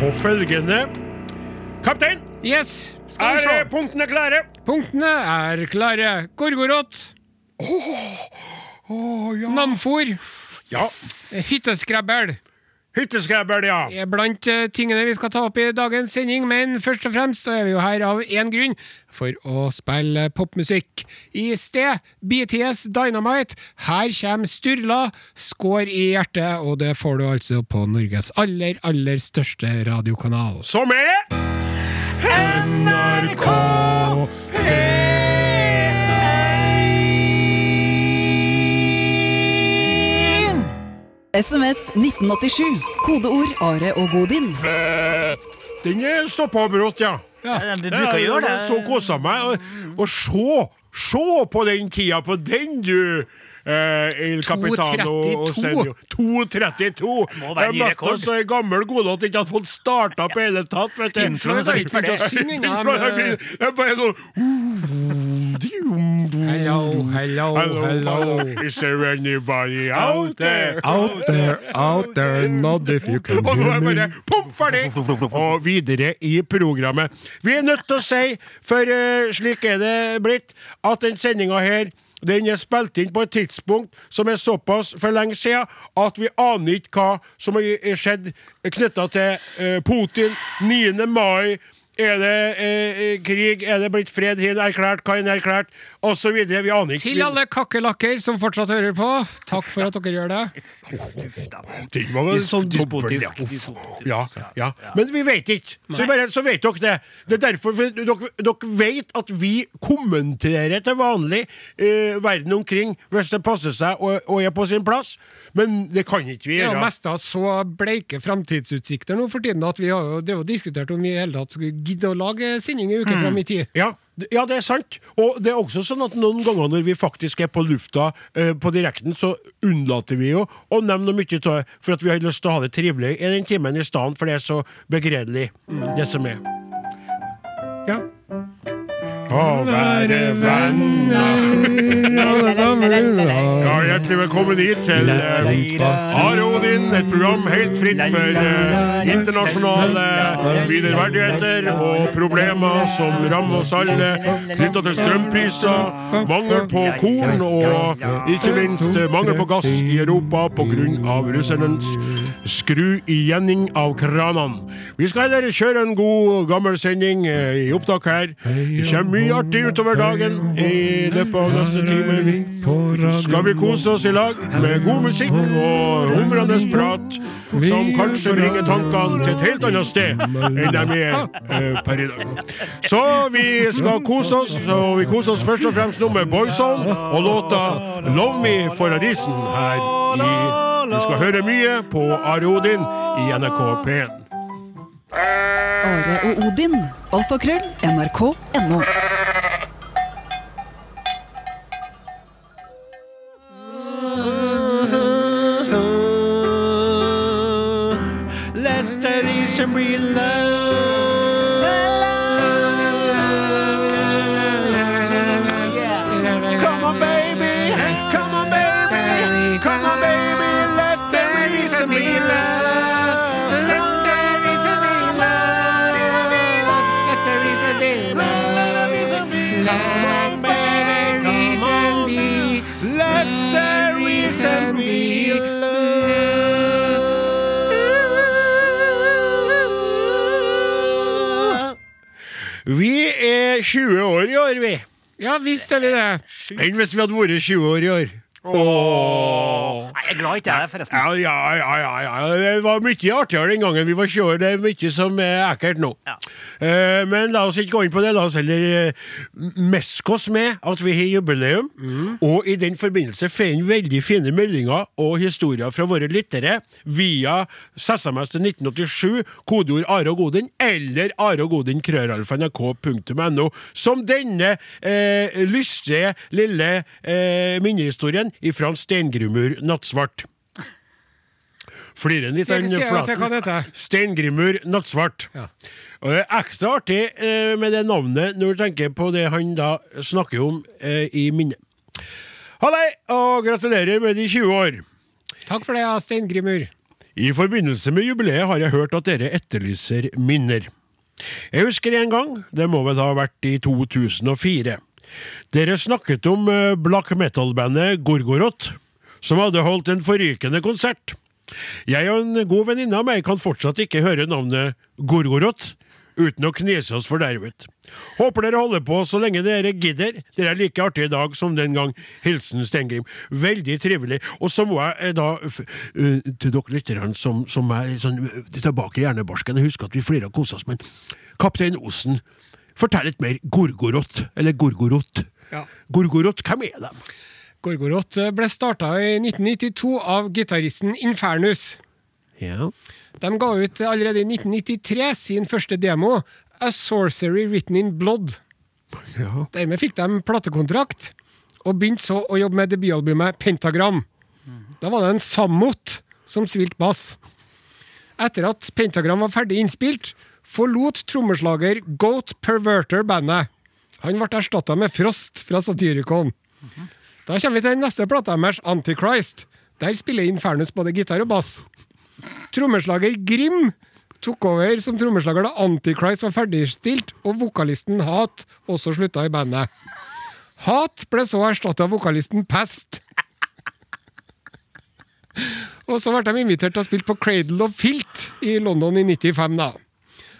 Speaker 3: På følgende Kaptein,
Speaker 2: Yes, skal
Speaker 3: er
Speaker 2: vi se.
Speaker 3: eh, punktene klare?
Speaker 2: Punktene er klare. Gorgorot. Namfor.
Speaker 3: Ja.
Speaker 2: Hytteskrebbel
Speaker 3: Hytteskrebbel, ja.
Speaker 2: er blant eh, tingene vi skal ta opp i dagens sending, men først og fremst så er vi jo her av én grunn, for å spille popmusikk. I sted BTS Dynamite. Her kommer Sturla, skår i hjertet, og det får du altså på Norges aller, aller største radiokanal.
Speaker 3: Som er det NRK
Speaker 1: SMS 1987. Kodeord Are og Godin.
Speaker 3: Den eh, stoppa brått, ja.
Speaker 4: Ja, Vi bruker å gjøre
Speaker 3: Jeg så
Speaker 4: det.
Speaker 3: kosa meg. Og, og se, se på den tida på den, du! Eh, El Capitano og
Speaker 2: 2.32.
Speaker 3: Senio. 2.32!
Speaker 4: Må være
Speaker 3: Jeg
Speaker 4: ny
Speaker 3: mesta
Speaker 4: rekord.
Speaker 3: så ei gammel gode at jeg ikke hadde fått starta opp i hele tatt. Vet du.
Speaker 4: Influensa har ikke vært det.
Speaker 2: Synging av-
Speaker 4: eh,
Speaker 3: Jeg bare sånn
Speaker 2: Hello, hello,
Speaker 3: Hello, hello. Is there anybody out there?
Speaker 2: Out there, out there, not if you can
Speaker 3: Og nå er jeg bare pum, ferdig! Og videre i programmet. Vi er nødt til å si, for eh, slik er det blitt, at den sendinga her den er spilt inn på et tidspunkt som er såpass for lenge siden at vi aner ikke hva som har skjedd knytta til eh, Putin 9. mai. Er det eh, eh, krig? Er det blitt fred? Hin erklært? Kain erklært? Og så videre. Vi aner ikke.
Speaker 2: Til alle kakerlakker som fortsatt hører på, takk for at dere gjør det.
Speaker 3: Det var vel sånn dobbelt,
Speaker 4: Dyspotisk.
Speaker 3: ja. Uff.
Speaker 4: Dyspotisk.
Speaker 3: Ja, ja. Men vi vet ikke. Så, bare, så vet dere det. Det er derfor for dere, dere vet at vi kommenterer til vanlig eh, verden omkring hvis det passer seg og, og er på sin plass, men det kan ikke vi
Speaker 2: Det er jo
Speaker 3: gjøre.
Speaker 2: mest av så bleike framtidsutsikter nå for tiden at vi har jo det er jo diskutert om vi i hele tatt skulle gidde å lage sending en uke fram i tid.
Speaker 3: Ja, d- ja, det er sant. Og det er også sånn at noen ganger når vi faktisk er på lufta eh, på direkten, så unnlater vi jo å nevne noe mye av det, for at vi har lyst til å ha det trivelig i den timen i stedet, for det er så begredelig,
Speaker 2: Mm.
Speaker 3: det som er. Ja. Å være venner
Speaker 2: Alle sammen,
Speaker 3: Ja, hjertelig velkommen hit til eh, Are Odin, et program helt fritt for eh, internasjonale videreverdigheter og problemer som rammer oss alle, knytta til strømpriser, mangel på korn og ikke minst eh, mangel på gass i Europa pga. russernes skru-igjenning av kranene. Vi skal heller kjøre en god, gammel sending eh, i opptak her. Det kommer mye artig utover dagen i løpet av neste time. Skal vi kose oss i lag med god musikk og humrende prat, som kanskje bringer tankene til et helt annet sted enn de er eh, per i dag. Så vi skal kose oss, og vi koser oss først og fremst nå med Boyzone og låta 'Love Me for a Reason' her i Du skal høre mye på Are Odin i NRK P1.
Speaker 1: Are og Odin. Alfakrøll. NRK.no.
Speaker 3: Let the nation be love. Come on, baby. Come on, baby. Come on, baby. Let the nation be love. Let the nation be love. Let the nation be love. Come on, baby. Come on, baby. Let the reason be love. Vi er 20 år i år, vi.
Speaker 2: Ja visst er vi det.
Speaker 3: Enn hvis vi hadde vært 20 år i år.
Speaker 4: Nei, jeg er glad ikke jeg er det, forresten.
Speaker 3: Ja, ja, ja, ja, ja. Det var mye artigere den gangen vi var 20 år. Det er mye som er ekkelt nå.
Speaker 4: Ja.
Speaker 3: Eh, men la oss ikke gå inn på det. La oss heller eh, meske oss med at vi har jubileum. Og i den forbindelse får inn veldig fine meldinger og historier fra våre lyttere via SMS til 1987, kodeord Are og Godin, eller Are og Godin krøralfa.nrk.no, som denne eh, lystige lille eh, minnehistorien ifra Steingrumur Nattsvart. Flirer litt
Speaker 2: Sier-
Speaker 3: av den
Speaker 2: sier jeg at jeg
Speaker 3: flaten.
Speaker 2: kan dette.
Speaker 3: Steingrimur Nattsvart.
Speaker 2: Ja.
Speaker 3: Og det er ekstra artig eh, med det navnet når du tenker på det han da snakker om eh, i minnet. Hallei, og gratulerer med de 20 år.
Speaker 2: Takk for det, ja, Steingrimur.
Speaker 3: I forbindelse med jubileet har jeg hørt at dere etterlyser minner. Jeg husker en gang, det må vel ha vært i 2004. Dere snakket om eh, black metal-bandet Gorgoroth, som hadde holdt en forrykende konsert. Jeg og en god venninne av meg kan fortsatt ikke høre navnet Gorgoroth uten å knese oss fordervet. Håper dere holder på så lenge dere gidder. Dere er like artige i dag som den gang. Hilsen Stengrim. Veldig trivelig. Og så må jeg eh, da f eh, til dere lytterne som, som er sånn, eh, tilbake i hjernebarsken Jeg husker at vi flira og kosa oss, men Kaptein Osen, fortell litt mer. Gorgoroth, eller Gorgoroth.
Speaker 2: Ja.
Speaker 3: Gorgoroth, hvem er de?
Speaker 2: Gorgoroth ble starta i 1992 av gitaristen Infernus.
Speaker 3: Ja.
Speaker 2: De ga ut allerede i 1993 sin første demo, A Sorcery Written in Blood.
Speaker 3: ja.
Speaker 2: Dermed fikk de platekontrakt, og begynte så å jobbe med debutalbumet Pentagram. Da var det en Sammot som spilte bass. Etter at Pentagram var ferdig innspilt, forlot trommeslager Goat Perverter bandet. Han ble erstatta med Frost fra Satyricon. Da kommer vi til den neste plata deres, Antichrist. Der spiller Infernus både gitar og bass. Trommeslager Grim tok over som trommeslager da Antichrist var ferdigstilt, og vokalisten Hat også slutta i bandet. Hat ble så erstatta av vokalisten Pest. Og så ble de invitert til å spille på Cradle of Filt i London i 95, da.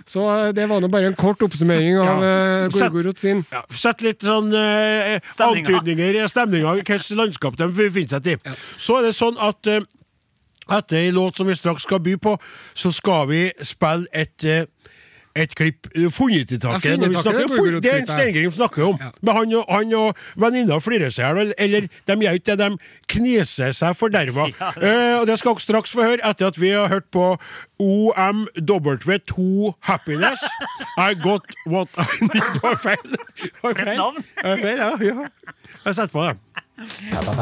Speaker 2: Så eh, det var nå bare en kort oppsummering av
Speaker 3: Ja.
Speaker 2: ja. Gorgorot sin.
Speaker 3: Ja, sett litt sånn eh,
Speaker 4: Stemninga.
Speaker 3: antydninger i stemninga, hvilket landskap de befinner seg i. Så er det sånn at eh, etter ei låt som vi straks skal by på, så skal vi spille et eh, et klipp eh, funnet i taket.
Speaker 2: Ja, funnet
Speaker 3: når
Speaker 2: i
Speaker 3: vi
Speaker 2: taket,
Speaker 3: snakker,
Speaker 2: det bruker du
Speaker 3: det er en
Speaker 2: klippet.
Speaker 3: Steingrim snakker om.
Speaker 2: Ja.
Speaker 3: Men han og, han og venninna flirer seg i hjel. Eller de gjør ikke det, de kneser seg forderva. Eh, og det skal dere straks få høre etter at vi har hørt på OMW2 Happiness. I got what I need. Var feil. Var feil.
Speaker 4: navn.
Speaker 3: Var feil, ja, ja. Jeg setter på det.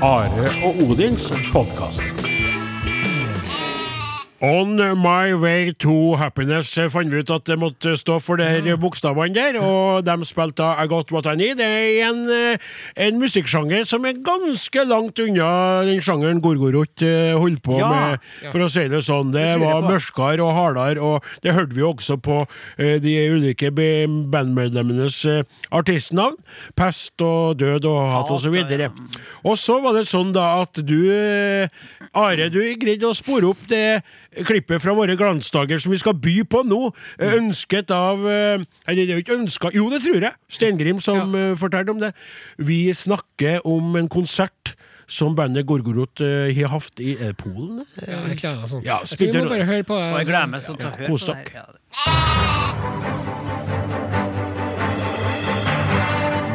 Speaker 3: Are og Odins podkast. On my way to happiness eh, fant vi ut at det måtte stå for de her bokstavene der, og de spilte da I Got What I Need. Det er en, eh, en musikksjanger som er ganske langt unna den sjangeren Gorgoroth eh, holdt på
Speaker 4: Ja.
Speaker 3: med, for å si det sånn. Det
Speaker 4: Det tror jeg
Speaker 3: var
Speaker 4: på.
Speaker 3: mørkere og hardere, og det hørte vi jo også på eh, de ulike be- bandmedlemmenes eh, artistnavn. Pest og død og hat og så videre. Og så var det sånn da at du, eh, Are, du greide å spore opp det klippet fra våre glansdager som vi skal by på nå, eh,
Speaker 4: Mm.
Speaker 3: ønsket av eh, Eller det er jo ikke ønska Jo, det tror jeg! Steingrim som eh, fortalte om det. Vi snakker om en konsert som bandet Gorgoroth eh, har hatt i eh, Polen.
Speaker 2: Ja, et eller annet sånt.
Speaker 3: Ja,
Speaker 2: Jeg tror vi
Speaker 3: spiller-
Speaker 2: må bare høre på
Speaker 4: Og jeg
Speaker 2: det.
Speaker 4: glemmer så takk.
Speaker 3: kos
Speaker 4: for det.
Speaker 3: dere.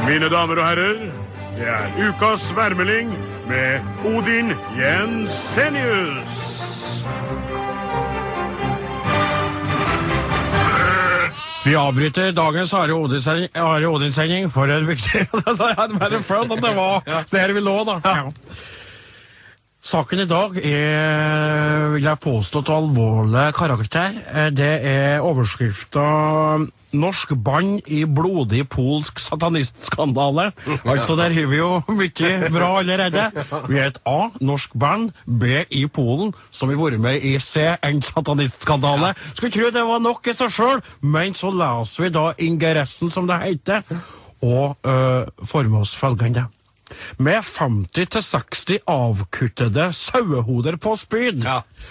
Speaker 4: Ja.
Speaker 6: Mine damer og herrer, det er ukas værmelding med Odin Jensenius.
Speaker 3: Vi avbryter dagens Are Odin-sending Are Odin-sending for en viktig Det er bare fun at det var der vi lå, da. Saken i dag er, vil jeg påstå, til alvorlig karakter. Eh, Det er overskrifta 'Norsk bann i blodig polsk satanistskandale'. Altså, der har vi jo mye bra allerede. Vi er et A, norsk band. B, i Polen, som har vært med i C, en satanistskandale. Skulle tro det var nok i seg sjøl, men så leser vi da ingressen, som det heter, og øh, får med oss følgende. Med 50-60 avkuttede sauehoder på spyd,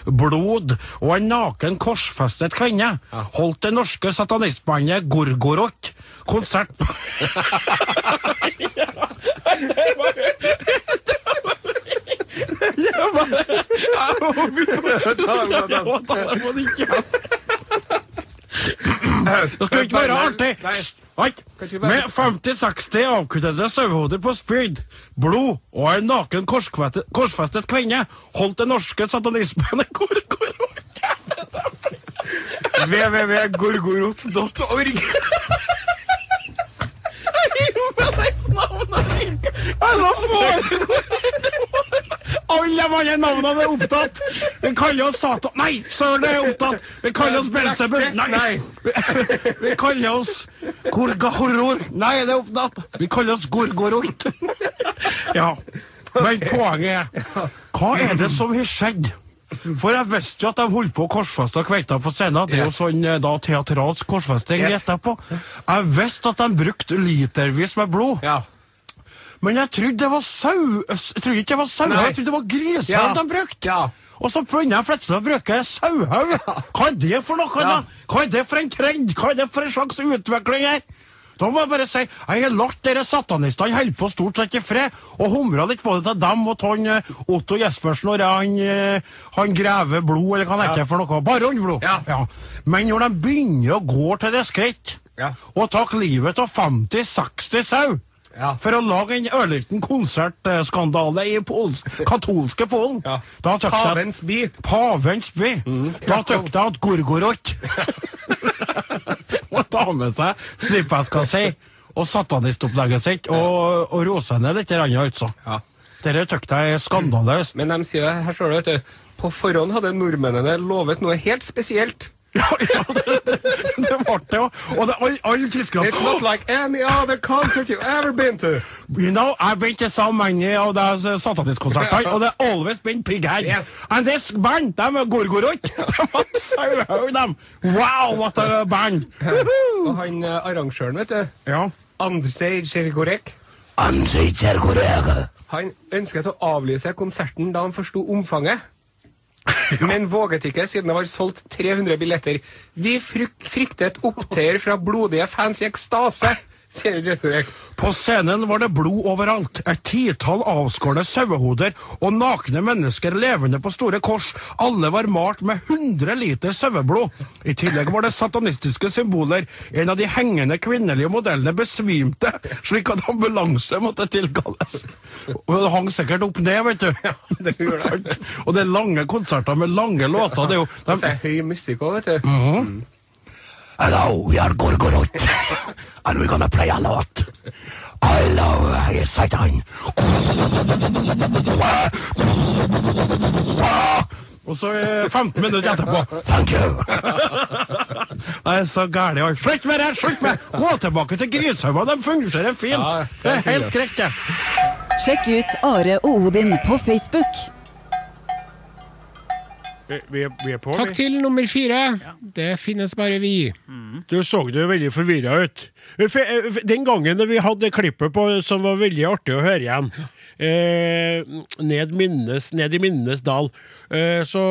Speaker 3: blod og en naken korsfestet kvinne holdt det norske satanistbandet Gorgorot konsert på Det skal ikke være artig! Nei. Med 50-60 avkuttede sauehoder på spyd, blod og en naken korskvete- korsfestet kvinne holdt det norske satanismen Gorgorot www.gorgorot.org Alle våre navnene er opptatt! Vi kaller oss Satan Nei, søren, det er opptatt! Vi kaller oss Belzebub! Nei! Vi kaller oss Gorgahorror. Nei, det er opptatt. Vi kaller oss Gorgorort. Ja. Men poenget er Hva er det som har skjedd? For jeg visste jo at de holdt på å korsfeste kveita på scenen. Det er jo sånn eh, da teatralsk korsfesting gjetter jeg på. Jeg visste at de brukte litervis med blod. Men jeg trodde det var sau... Jeg trodde ikke det var sau, jeg trodde det var grisehaug de brukte. Og så prøvde jeg plutselig å bruke sauhaug. Hva er det for noe, da? Hva er det for en trend? Hva er det for en slags utvikling her? Da må jeg bare si jeg har latt dere satanistene holde på stort sett i fred, og humra litt både til dem og til han, eh, Otto Jespersen og han, eh, han Greve Blod, eller hva han heter for noe. Baron Blod. Ja. Men når de begynner å gå til det skritt, og tar livet av 50-60 sau for å lage en ørliten konsertskandale i pols katolske Polen. Da tøkte jeg-
Speaker 7: Pavens by.
Speaker 3: Pavens by. Da tøkte jeg at Gorgorot må ta med seg snippveska si og satanistopplegget sitt og, og rose henne litt, grann, altså.
Speaker 7: Ja.
Speaker 3: Dette tøkte jeg er skandaløst.
Speaker 7: Men de sier jo, her står det, vet du, på forhånd hadde nordmennene lovet noe helt spesielt.
Speaker 3: Ja, ja, det, det ble det jo. Og det- alle all tyskerne
Speaker 7: It's not like any other concert you've ever been to.
Speaker 3: You know, I've been to so many av de satanistkonsertene, og det har always been pig her.
Speaker 7: Yes.
Speaker 3: And this band, de er gorgorot. De var sauhøy, de. Wow, what a band.
Speaker 7: Og han eh, arrangøren, vet du,
Speaker 3: Ja.
Speaker 7: Andrzej Tjergorek, han ønsket å avlyse konserten da han forsto omfanget. Men våget ikke, siden det var solgt 300 billetter. Vi fryk fryktet opptøyer fra blodige fans i ekstase, sier Tjergorek.
Speaker 3: På scenen var det blod overalt. Et titall avskårne sauehoder og nakne mennesker levende på store kors. Alle var malt med 100 liter saueblod. I tillegg var det satanistiske symboler. En av de hengende kvinnelige modellene besvimte, slik at ambulanse måtte tilkalles. Og det hang sikkert opp ned, vet du.
Speaker 7: det gjorde det.
Speaker 3: og det er lange konserter med lange låter. Det er jo,
Speaker 7: Og så er høy musikk òg, vet du.
Speaker 3: Hello, we are Gorgoroth, and we're gonna play a lot. Hello, I is Satan. Og så eh, 15 minutter etterpå Thank you! Jeg er så gæren. jeg. Slutt med det! slutt med det. Gå tilbake til grishaugene. De fungerer fint. det er helt greit, det.
Speaker 1: Sjekk ut Are og Odin på Facebook.
Speaker 8: Vi er, vi er på,
Speaker 2: Takk
Speaker 8: vi.
Speaker 2: til nummer fire. Det finnes bare vi.
Speaker 8: Du så du veldig forvirra ut. F-
Speaker 3: eh,
Speaker 8: f- Den gangen da vi hadde klippet på, som var veldig artig å høre igjen eh, ned, minnes, ned i minnenes dal. Eh, så,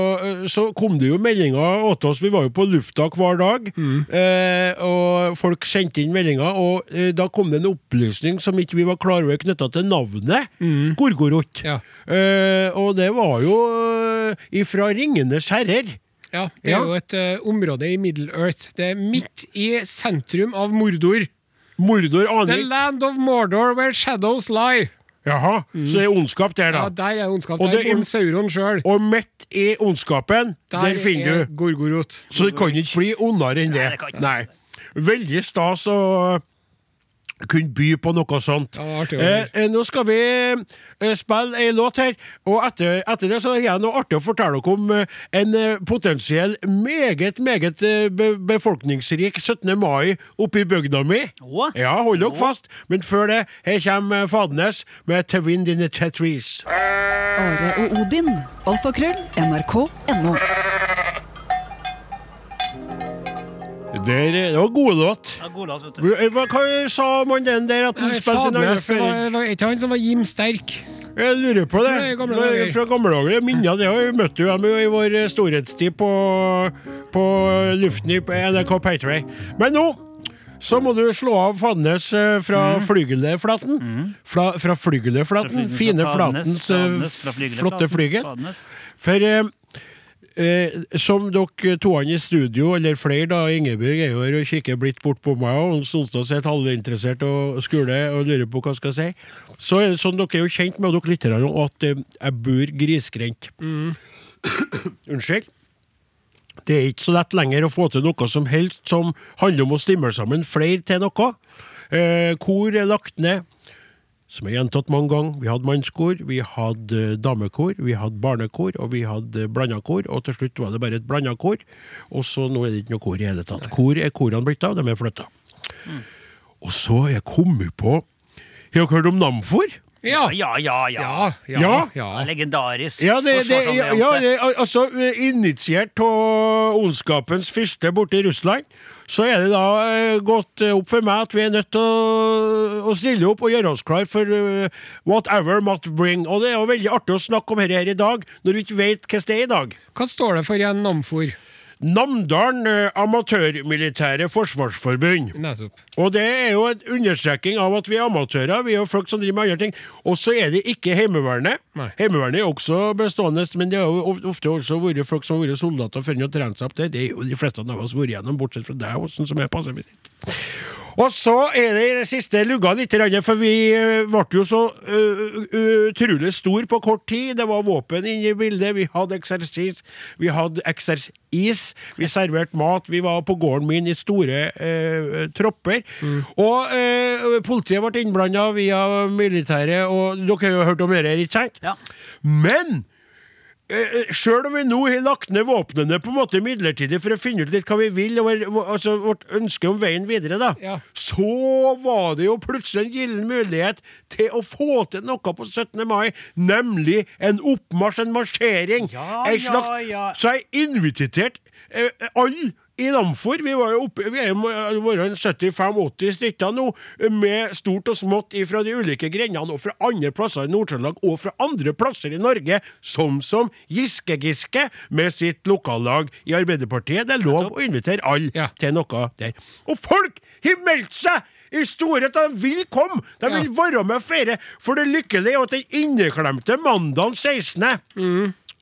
Speaker 8: så kom det jo meldinger åt oss. Vi var jo på lufta hver dag. Eh, og folk sendte inn meldinger, og eh, da kom det en opplysning som ikke vi var klar over knytta til navnet. Gorgorot.
Speaker 2: Ja.
Speaker 8: Eh, og det var jo eh, ifra Ringenes herrer.
Speaker 2: Ja, Det er
Speaker 8: Ja.
Speaker 2: jo et eh, område i Middle Earth. Det er midt i sentrum av Mordor.
Speaker 8: Mordor
Speaker 2: The
Speaker 8: aner
Speaker 2: land of Mordor where shadows lie.
Speaker 8: Jaha, Så det er ondskap der, da.
Speaker 2: Ja, der er ondskap.
Speaker 8: Og
Speaker 2: Der
Speaker 8: det-
Speaker 2: bor Sauron sjøl.
Speaker 8: Og midt i ondskapen, der, finner
Speaker 2: er
Speaker 8: du
Speaker 2: Gorgorot.
Speaker 8: Så det kan ikke bli ondere enn det.
Speaker 4: det kan ikke.
Speaker 8: Nei. Veldig stas å kunne by på noe sånt.
Speaker 2: Ja, det var artig å
Speaker 8: eh,
Speaker 2: høre.
Speaker 8: eh, nå skal vi eh, spille ei låt her, og etter, etter det så er det noe artig å fortelle dere om eh, en eh, potensiell meget, meget eh, be befolkningsrik 17. mai oppe i bygda mi.
Speaker 4: Å?
Speaker 8: Ja, hold dere fast, men før det, her kommer eh, Fadenes med 'To Wind In The Tetris'.
Speaker 1: Are og Odin. Alfakrøll. NRK.no.
Speaker 8: Der, eh, det var gode låt.
Speaker 4: Ja, god låt, vet du.
Speaker 8: Hva hva sa mannen den der at han spilte en annen
Speaker 2: Fadnes
Speaker 8: ferie?
Speaker 2: var var ikke han som var Jim Sterk.
Speaker 8: Jeg lurer på det.
Speaker 2: Fra
Speaker 8: det
Speaker 2: gamle
Speaker 8: er
Speaker 2: dager.
Speaker 8: fra gamle dager. Jeg minner det. og Vi møtte jo dem jo i vår eh, storhetstid på, på luften i NRK Patray. Men nå så må du slå av Fadnes eh, fra flygeleflaten. Fra, Mm. fra flygeleflaten. Mm, Fine flatens eh, flotte flygel. For eh, eh, som dere toene i studio, eller flere, da, Ingebjørg er jo her og kikker blitt bort på meg, og Hans Sonstad sitter halvinteressert og skuler og lurer på hva jeg skal si, så er det sånn dere er jo kjent med og dere lytter her nå, at eh, jeg bor grisgrendt. Unnskyld. Det er ikke så lett lenger å få til noe som helst som handler om å stimle sammen flere til noe. Eh, kor er lagt ned som er gjentatt mange ganger. Vi hadde mannskor, vi hadde eh, damekor, vi hadde barnekor, og vi hadde eh, blanda kor. Og til slutt var det bare et blanda kor. Og så nå er det ikke noe kor i hele tatt. Kor er korene blitt av, de er flytta. Og så har jeg kommet på Har dere hørt om Namfor?
Speaker 2: Ja.
Speaker 4: Ja, ja, ja.
Speaker 8: Ah. Ja.
Speaker 4: Ja, Legendarisk.
Speaker 8: Ja, det, det, ja,
Speaker 4: forsvarsallianse.
Speaker 8: ja det, al- altså eh, Initiert av ondskapens fyrste borte i Russland, så er det da eh, gått eh, opp for meg at vi er nødt til å, å stille opp og gjøre oss klar for eh, whatever must bring. Og det er jo veldig artig å snakke om dette her i dag, når vi ikke vet hvordan det er i dag.
Speaker 2: Hva står det for igjen, Namfor?
Speaker 8: Namdalen eh, Amatørmilitære Forsvarsforbund.
Speaker 2: Nettopp.
Speaker 8: Og det er jo en understreking av at vi er amatører. Vi er jo folk som driver med andre ting. Og så er det ikke Heimevernet.
Speaker 2: Nei.
Speaker 8: Heimevernet er også bestående, men det har jo of- ofte også vært folk som har vært soldater før de har trent seg opp der. Det er jo de fleste av oss vært gjennom, bortsett fra deg, Åsen, som er passivist. Og så er det i det siste lugga litt, grann, for vi eh, ble jo så eh, utrolig stor på kort tid. Det var våpen inne i bildet, vi hadde eksersis, vi hadde eksersis, vi serverte mat, vi var på gården min i store eh, tropper. Og eh, politiet ble innblanda via militæret, og dere har jo hørt om dette, ikke sant?
Speaker 4: Ja.
Speaker 8: Men Sjøl om vi nå har lagt ned våpnene på en måte midlertidig for å finne ut litt hva vi vil, og vår- vår- altså vårt ønske om veien videre, da,
Speaker 2: Ja.
Speaker 8: så var det jo plutselig en gyllen mulighet til å få til noe på 17. mai, nemlig en oppmarsj, en marsjering.
Speaker 4: Ja,
Speaker 8: En
Speaker 4: ja, ja.
Speaker 8: Så jeg inviterte eh, alle i Namfor, vi, var jo oppe, vi er jo må- eh, være en 75-80 stykker nå, eh, med stort og smått fra de ulike grendene, og fra andre plasser i Nord-Trøndelag, og fra andre plasser i Norge, som som Giske-Giske, med sitt lokallag i Arbeiderpartiet. Det er lov å invitere alle
Speaker 2: Ja.
Speaker 8: til noe der. Og folk har meldt seg! I storhet, de vil komme! De vil være med og feire! For det lykkelige er jo at den inneklemte mandagen 16.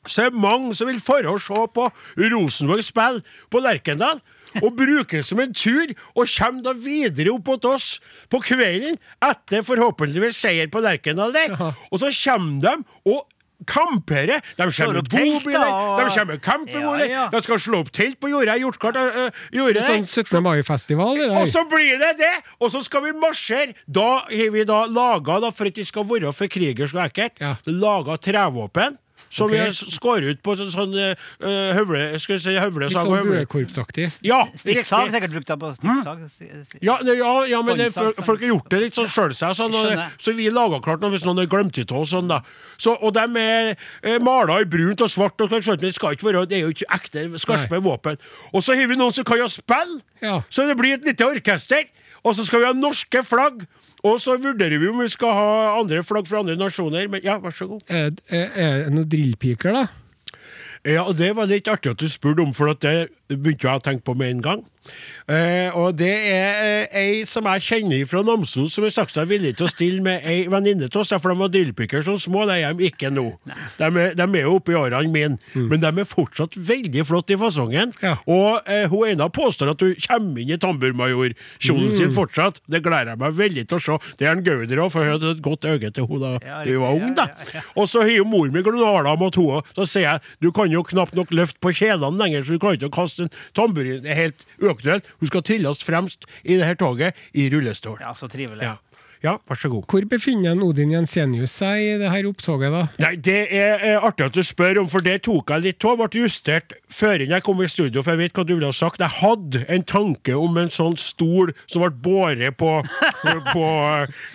Speaker 8: Så er det mange som vil fare og se på Rosenborg spille på Lerkendal. Og bruke det som en tur, og kommer da videre opp mot oss på kvelden etter forhåpentligvis seier på Lerkendal der. Og så kommer de og kamperer. De kommer med
Speaker 4: opp telt,
Speaker 8: bobiler,
Speaker 4: da,
Speaker 8: de
Speaker 4: og-
Speaker 8: kommer med campingvogner,
Speaker 4: Ja, ja.
Speaker 8: de skal slå opp telt på jordet. Jeg har gjort klart øh, øh, jordet der.
Speaker 2: Sånn 17. mai-festival, det der.
Speaker 8: Og så blir det det! Og så skal vi marsjere! Da har vi da laga, da, for at det skal være for krigersk og ekkelt,
Speaker 2: Ja.
Speaker 8: laga trevåpen. Som
Speaker 2: Ok.
Speaker 8: vi har skåret ut på sånn, sånn eh, eh, høvle... Skal vi si høvle,
Speaker 2: Litt
Speaker 8: sag og
Speaker 2: sånn
Speaker 8: høvle.
Speaker 2: buekorpsaktig.
Speaker 8: Ja,
Speaker 4: Stikksag
Speaker 8: riktig. Mm.
Speaker 4: sikkert brukt deg på stikksag. Si- si-
Speaker 8: Ja, nei, ja, ja, men det,
Speaker 4: Håndsag,
Speaker 8: folk folk har gjort det litt sånn sjøl seg. Sånn, og, det-
Speaker 4: Skjønner.
Speaker 8: så vi laga klart noe hvis noen har glemt det av oss. Sånn, da. så, og de er eh, mala i brunt og svart, og sånn, men det skal ikke være, det er jo ikke ekte skarpe våpen. Og så har vi noen som kan jo spille,
Speaker 2: Ja.
Speaker 8: så det blir et lite orkester. Og så skal vi ha norske flagg, og så vurderer vi om vi skal ha andre flagg fra andre nasjoner. Men ja, vær så god.
Speaker 2: Er er- er det noen drillpiker, da?
Speaker 8: Ja, og Det var litt artig at du spurte om, for at det, begynte jeg å tenke på med en gang. Eh, og det er eh, ei som jeg kjenner fra Namsos, som har sagt seg villig til å stille med ei venninne av oss. For de var drillpicker som små, det er de ikke nå. De er, de er jo oppe i årene mine, men de er fortsatt veldig flotte i fasongen.
Speaker 2: Ja.
Speaker 8: Og eh, hun ene påstår at hun kommer inn i tamburmajorkjolen sin fortsatt. Det gleder jeg meg veldig til å se. Det er en gauder òg, for hun hadde et godt øye til hun da
Speaker 4: Ja,
Speaker 8: hun var
Speaker 4: riktig.
Speaker 8: ung.
Speaker 4: Ja,
Speaker 8: da. Og så har jo mor mi glunala mot henne, så sier jeg du kan jo knapt nok løfte på kjelene lenger, så du klarer ikke å kaste en tamburin. Det er helt uaktuelt. Hun skal trilles fremst i det her toget i rullestol.
Speaker 4: Ja, så trivelig.
Speaker 8: Ja. ja, vær så god.
Speaker 2: Hvor befinner en Odin Jensenius seg i det her opptoget, da?
Speaker 8: Nei, Det er eh, artig at du spør om, for det tok jeg litt av. Ble justert før inn jeg kom i studio, for jeg vet hva du ville ha sagt. Jeg hadde en tanke om en sånn stol som ble båret på, på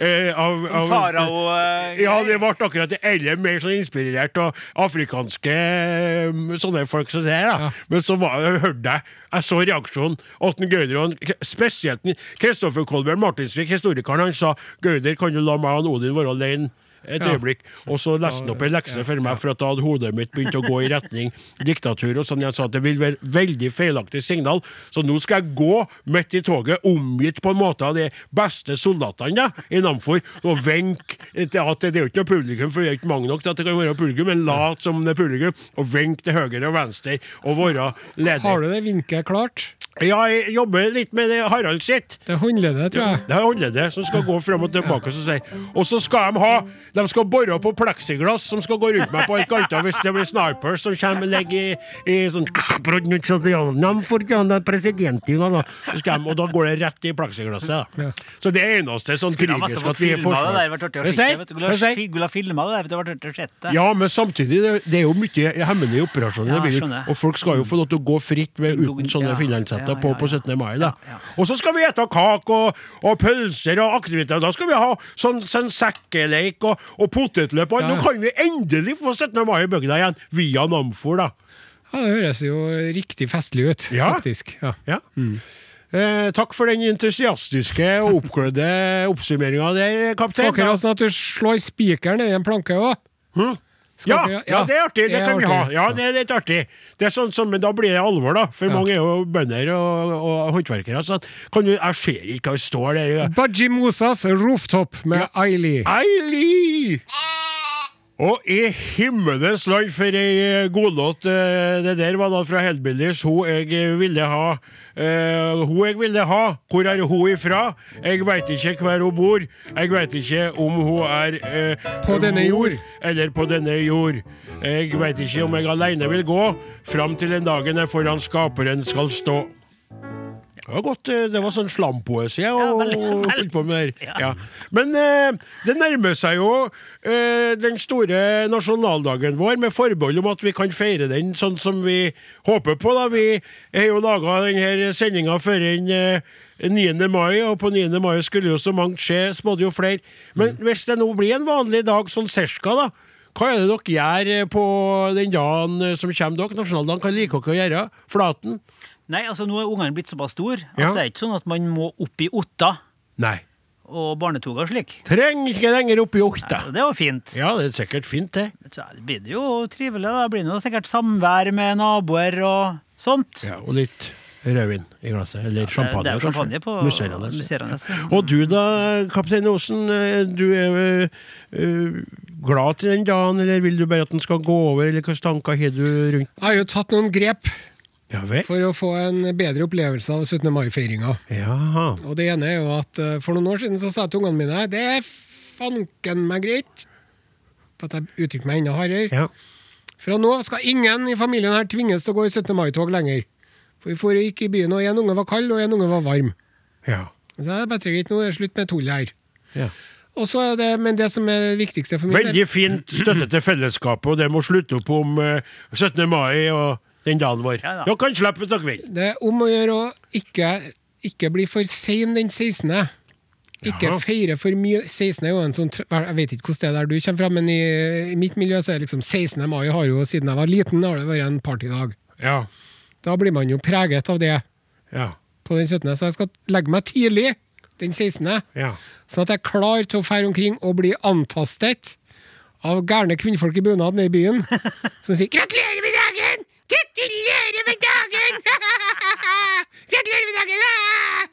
Speaker 8: eh, av, av
Speaker 4: Farao eh,
Speaker 8: Ja, det ble akkurat det. Eller mer sånn inspirert av afrikanske eh, sånne folk som det her, da. Men så var, hørte jeg Jeg så reaksjonen. Atten Gauder og han- spesielt Kristoffer Kolbjørn Martinsvik, historikeren, han sa Gauder, kan du la meg og han Odin være alene? Et øyeblikk. Og så leste han opp en lekse for meg, for at da hadde hodet mitt begynt å gå i retning diktatur. Og sånn jeg sa at det vil være veldig feilaktig signal, så nå skal jeg gå midt i toget, omgitt på en måte av de beste soldatene da, i Namfor, og venke til at det er jo ikke noe publikum, for det er ikke mange nok til at det kan være publikum, men lat som det er publikum, og venke til høyre og venstre, og være
Speaker 2: Har
Speaker 8: leder.
Speaker 2: du det vinket klart?
Speaker 8: Ja, jeg jobber litt med det Harald sitt.
Speaker 2: Det er håndleddet, tror jeg.
Speaker 8: Det er håndleddet som skal gå frem og tilbake. som sier. Og så skal de ha De skal bore på pleksiglass som skal gå rundt meg på et ganta hvis det blir snipers som kommer og legger i, i sånn Så skal de, Og da går det rett i pleksiglasset. da. Så det er eneste sånn
Speaker 4: Skulle ha masse
Speaker 8: krigersk
Speaker 4: fått
Speaker 8: at vi er
Speaker 4: filma det der.
Speaker 8: forsvar.
Speaker 4: vært artig å
Speaker 8: Hva
Speaker 4: se.
Speaker 8: sier?
Speaker 4: vet du.
Speaker 8: Hva sier?
Speaker 4: Skulle ha filma det der. vet du, vært artig å se det.
Speaker 8: Ja, men samtidig, det, det er jo mye hemmelige operasjoner.
Speaker 4: Ja,
Speaker 8: det vil jo-
Speaker 4: skjønner jeg.
Speaker 8: og folk skal jo få lov til å gå fritt med, uten sånne
Speaker 4: Ja,
Speaker 8: finlandshetter
Speaker 4: ja,
Speaker 8: på,
Speaker 4: ja,
Speaker 8: på
Speaker 4: ja.
Speaker 8: 17. mai. Da.
Speaker 4: Ja, ja.
Speaker 8: Og så skal vi ete kake og, og pølser og aktiviteter. Da skal vi ha sånn, sånn sekkeleik og, og potetløp. og alt. Nå kan vi endelig få 17. mai i bygda igjen, via Namfor, da.
Speaker 2: Ja, Det høres jo riktig festlig ut,
Speaker 8: Ja.
Speaker 2: faktisk. Ja.
Speaker 8: Ja. Eh, takk for den entusiastiske og oppglødde oppsummeringa der, kaptein.
Speaker 2: Snakker altså at du slår spikeren i en planke òg.
Speaker 8: Hm? Ja,
Speaker 2: Skal dere-
Speaker 8: ja,
Speaker 2: ja,
Speaker 8: det er artig. Det,
Speaker 2: det er
Speaker 8: kan vi ha.
Speaker 2: artig.
Speaker 8: Ja, det er litt artig. Det er sånn som, men da blir det alvor, da. For mange er jo bønder og, og håndverkere. Så at, kan du, jeg ser ikke hva det står der. jeg-
Speaker 2: Baji Mosas rooftop med Aili.
Speaker 8: Eili! Og i himmelens land for ei eh, godlåt eh, det der var da fra Hellbillies. Hun jeg ville ha. Eh, hun jeg ville ha. Hvor er hun ifra? Jeg veit ikke hvor hun bor. Jeg veit ikke om hun er eh,
Speaker 2: På denne
Speaker 8: mor,
Speaker 2: jord.
Speaker 8: Eller på denne jord. Jeg veit ikke om jeg aleine vil gå fram til den dagen jeg foran skaperen skal stå. Det var godt. eh, Det var sånn slampoesi jeg og-
Speaker 4: veldig,
Speaker 8: og
Speaker 4: veldig.
Speaker 8: holdt på med der. Ja. Men eh, det nærmer seg jo eh, den store nasjonaldagen vår, med forbehold om at vi kan feire den sånn som vi håper på. da. Vi har jo laga denne sendinga før den eh, 9. mai, og på 9. mai skulle jo så mangt skje, spådde jo flere. Men
Speaker 4: Mm.
Speaker 8: hvis det nå blir en vanlig dag sånn cirka, da. Hva er det dere gjør eh, på den dagen eh, som kommer dere? Nasjonaldagen, hva liker dere å gjøre? Flaten?
Speaker 4: Nei, altså Nå er ungene blitt såpass store at
Speaker 8: Ja.
Speaker 4: det er ikke sånn at man må opp i Otta
Speaker 8: Nei.
Speaker 4: og barnetoga og slik.
Speaker 8: Trenger ikke lenger opp i okta.
Speaker 4: Så det var fint.
Speaker 8: Ja, det er sikkert fint, det.
Speaker 4: Så blir det jo trivelig. da blir det jo sikkert samvær med naboer og sånt.
Speaker 8: Ja, og litt rødvin i glasset. Eller champagne,
Speaker 4: det er jo
Speaker 8: kanskje.
Speaker 4: champagne på
Speaker 8: Musserende.
Speaker 4: Musserende,
Speaker 8: Ja.
Speaker 4: ja.
Speaker 8: Og du da, kaptein Osen. eh, Du er eh, eh, glad til den dagen, eller vil du bare at den skal gå over, eller hvilke tanker har du rundt
Speaker 2: Jeg har jo tatt noen grep
Speaker 8: Ja vel?
Speaker 2: for å få en bedre opplevelse av 17. mai-feiringa.
Speaker 8: Jaha.
Speaker 2: Og det ene er jo at eh, for noen år siden så sa jeg til ungene mine Det er fanken meg greit på at jeg uttrykte meg enda hardere.
Speaker 8: Ja.
Speaker 2: Fra nå av skal ingen i familien her tvinges til å gå i 17. mai-tog lenger. For vi for og gikk i byen, og én unge var kald, og én unge var varm.
Speaker 8: Ja.
Speaker 2: Så det er bedre greit nå, er det slutt med tullet her.
Speaker 8: ja.
Speaker 2: Og så er det, Men det som er det viktigste for min del
Speaker 8: Veldig fint støtte til fellesskapet, og det må slutte opp om eh, 17. mai og den dagen vår.
Speaker 4: Ja da.
Speaker 8: Dere kan slippe hvis dere vil.
Speaker 2: Det er om å gjøre å ikke, ikke bli for sein den 16. Ikke
Speaker 8: Jaha.
Speaker 2: feire for mye. 16. er jo en sånn tra- Jeg vet ikke hvordan det er der du kommer fra, men i, i mitt miljø så er det liksom 16. mai har jo, siden jeg var liten, har det vært en partydag.
Speaker 8: Ja.
Speaker 2: Da blir man jo preget av det
Speaker 8: Ja.
Speaker 2: på den 17. Så jeg skal legge meg tidlig den 16.
Speaker 8: Ja.
Speaker 2: Sånn at jeg er klar til å fære omkring og bli antastet av gærne kvinnfolk i bunad nede i byen. Som sier 'gratulerer med dagen! Gratulerer med dagen!' dagen! ja!»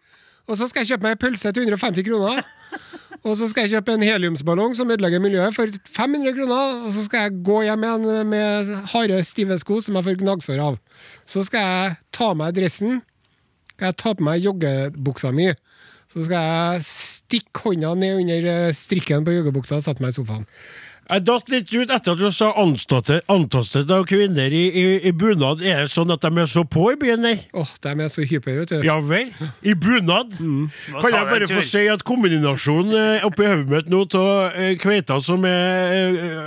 Speaker 2: Og så skal jeg kjøpe meg en pølse til 150 kroner. Og så skal jeg kjøpe en heliumsballong som ødelegger miljøet, for 500 kroner. Og så skal jeg gå hjem igjen med harde, stive sko som jeg får gnagsår av. Så skal jeg ta av meg dressen, skal jeg ta på meg joggebuksa mi. Så skal jeg stikke hånda ned under eh, strikken på joggebuksa og sette meg i sofaen.
Speaker 8: Jeg datt litt ut etter at du sa anståtte- antastet av kvinner i, i, i bunad. Er det sånn at de er så på i byen der?
Speaker 2: Åh, de er så hyper, vet du.
Speaker 8: Ja vel? I bunad?
Speaker 4: Må
Speaker 8: Kan
Speaker 4: ta
Speaker 8: jeg
Speaker 4: deg
Speaker 8: bare
Speaker 4: en
Speaker 8: få
Speaker 4: tur.
Speaker 8: si at kombinasjonen eh, oppi hodet mitt nå av eh, kveita som er, eh,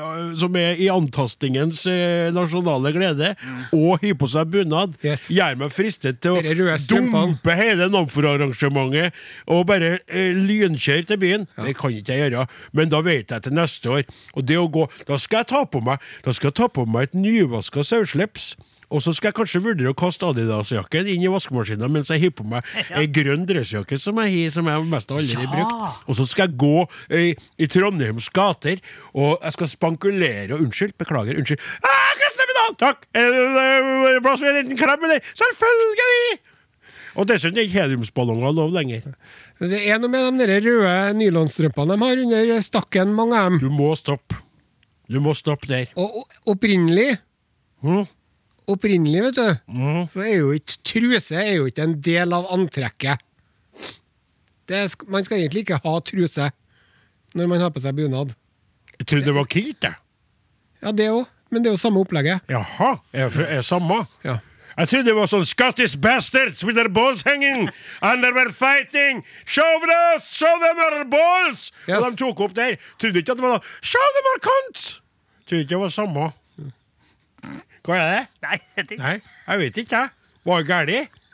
Speaker 8: som er i antastingens eh, nasjonale glede, og hyr på seg bunad,
Speaker 2: Yes.
Speaker 8: gjør meg fristet til å
Speaker 2: Dere røde strømpene.
Speaker 8: dumpe hele Namfor-arrangementet og bare eh, lynkjøre til byen. Det kan ikke jeg gjøre, men da vet jeg til neste år. Og det å gå, da skal jeg ta på meg, da skal jeg ta på meg et nyvaska saueslips. Og så skal jeg kanskje vurdere å kaste Adidas-jakken inn i vaskemaskinen mens jeg har på meg ei grønn dressjakke som jeg har, som jeg mest aldri har brukt. Og så skal jeg gå eh, i Trondheims gater, og jeg skal spankulere og Unnskyld, beklager, unnskyld. Ah, gratulerer med dagen! Takk! Er det eh, plass for en liten klem, eller? Selvfølgelig! Og dessuten er ikke heliumsballonger lov lenger.
Speaker 2: Det er noe med de der røde nylonstrømpene de har under stakken, mange av dem.
Speaker 8: Du må stoppe. Du må stoppe der.
Speaker 2: Og og opprinnelig
Speaker 8: Mhm.
Speaker 2: Opprinnelig, vet du,
Speaker 8: Mm.
Speaker 2: så er jo ikke truse er jo ikke en del av antrekket. Det er, sk- man skal egentlig ikke ha truse når man har på seg bunad.
Speaker 8: Jeg trodde det var kilt, jeg.
Speaker 2: Ja, det òg, men det er jo samme opplegget.
Speaker 8: Jaha. Er, er samme?
Speaker 2: Ja.
Speaker 8: Jeg trodde det var sånn Scottish bastards with their balls hanging and they were fighting. Show them us! Show them our balls!
Speaker 2: Yes.
Speaker 8: Og de tok opp der. Trodde ikke at det var noe Show them our cunts! Trodde ikke det var samme. Hva er det?
Speaker 4: Nei, jeg tenkte-
Speaker 8: Nei, jeg vet ikke, jeg. Var det galt?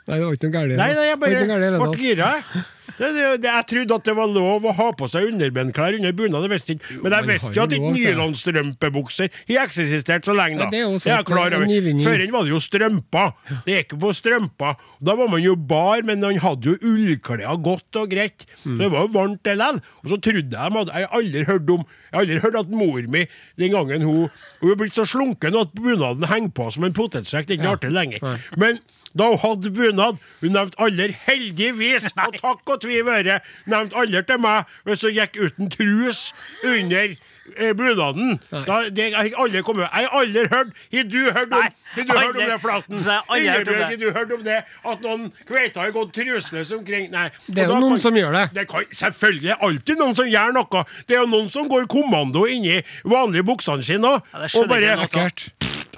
Speaker 2: Nei, det var ikke noe galt. i det.
Speaker 8: Nei, nei,
Speaker 2: Det
Speaker 8: jeg
Speaker 2: var ikke noe galt i
Speaker 8: bare
Speaker 2: det
Speaker 8: ble
Speaker 2: da.
Speaker 8: gira. jeg. Det, det, det, jeg trodde at det var lov å ha på seg underbenklær under bunad, det visste jeg ikke. Men jeg
Speaker 2: man
Speaker 8: visste
Speaker 2: har
Speaker 8: jo at
Speaker 2: jo
Speaker 8: ikke
Speaker 2: lov til det.
Speaker 8: nylonstrømpebukser har eksistert så lenge, da.
Speaker 2: Nei, det er jo sant.
Speaker 8: jeg er klar over.
Speaker 2: Det er en nyvinning.
Speaker 8: Før den var det jo strømper. Det gikk jo på strømper. Da var man jo bar, men han hadde jo ullklær godt og greit. Så det var jo varmt likevel. Og så trodde jeg at Jeg har aldri hørt om Jeg har aldri hørt at mor mi, den gangen hun Hun er blitt så slunken at bunaden henger på som en potetsekk. Det er ikke artig lenger. Men da hun hadde bunad, hun nevnte aldri 'heldigvis', og takk og tvi være, nevnte aldri til meg hvis hun gikk uten trus under eh, bunaden. Da, det, jeg har aldri kommet Jeg har aldri hørt Har du hørt om,
Speaker 4: Nei,
Speaker 8: har du hørt om
Speaker 4: aldri.
Speaker 8: det, Flaten?
Speaker 4: Så jeg har aldri hørt om det.
Speaker 8: Ingebjørg, har du hørt om det? At noen kveiter har gått truseløse omkring? Nei.
Speaker 2: Det er
Speaker 8: Og
Speaker 2: jo
Speaker 8: da
Speaker 2: noen som gjør det.
Speaker 8: det kan, selvfølgelig er det alltid noen som gjør noe. Det er jo noen som går kommando inni vanlige buksene sine òg.
Speaker 4: Ja, det skjønner
Speaker 8: og bare
Speaker 4: ikke jeg noe av.
Speaker 2: Ekkelt.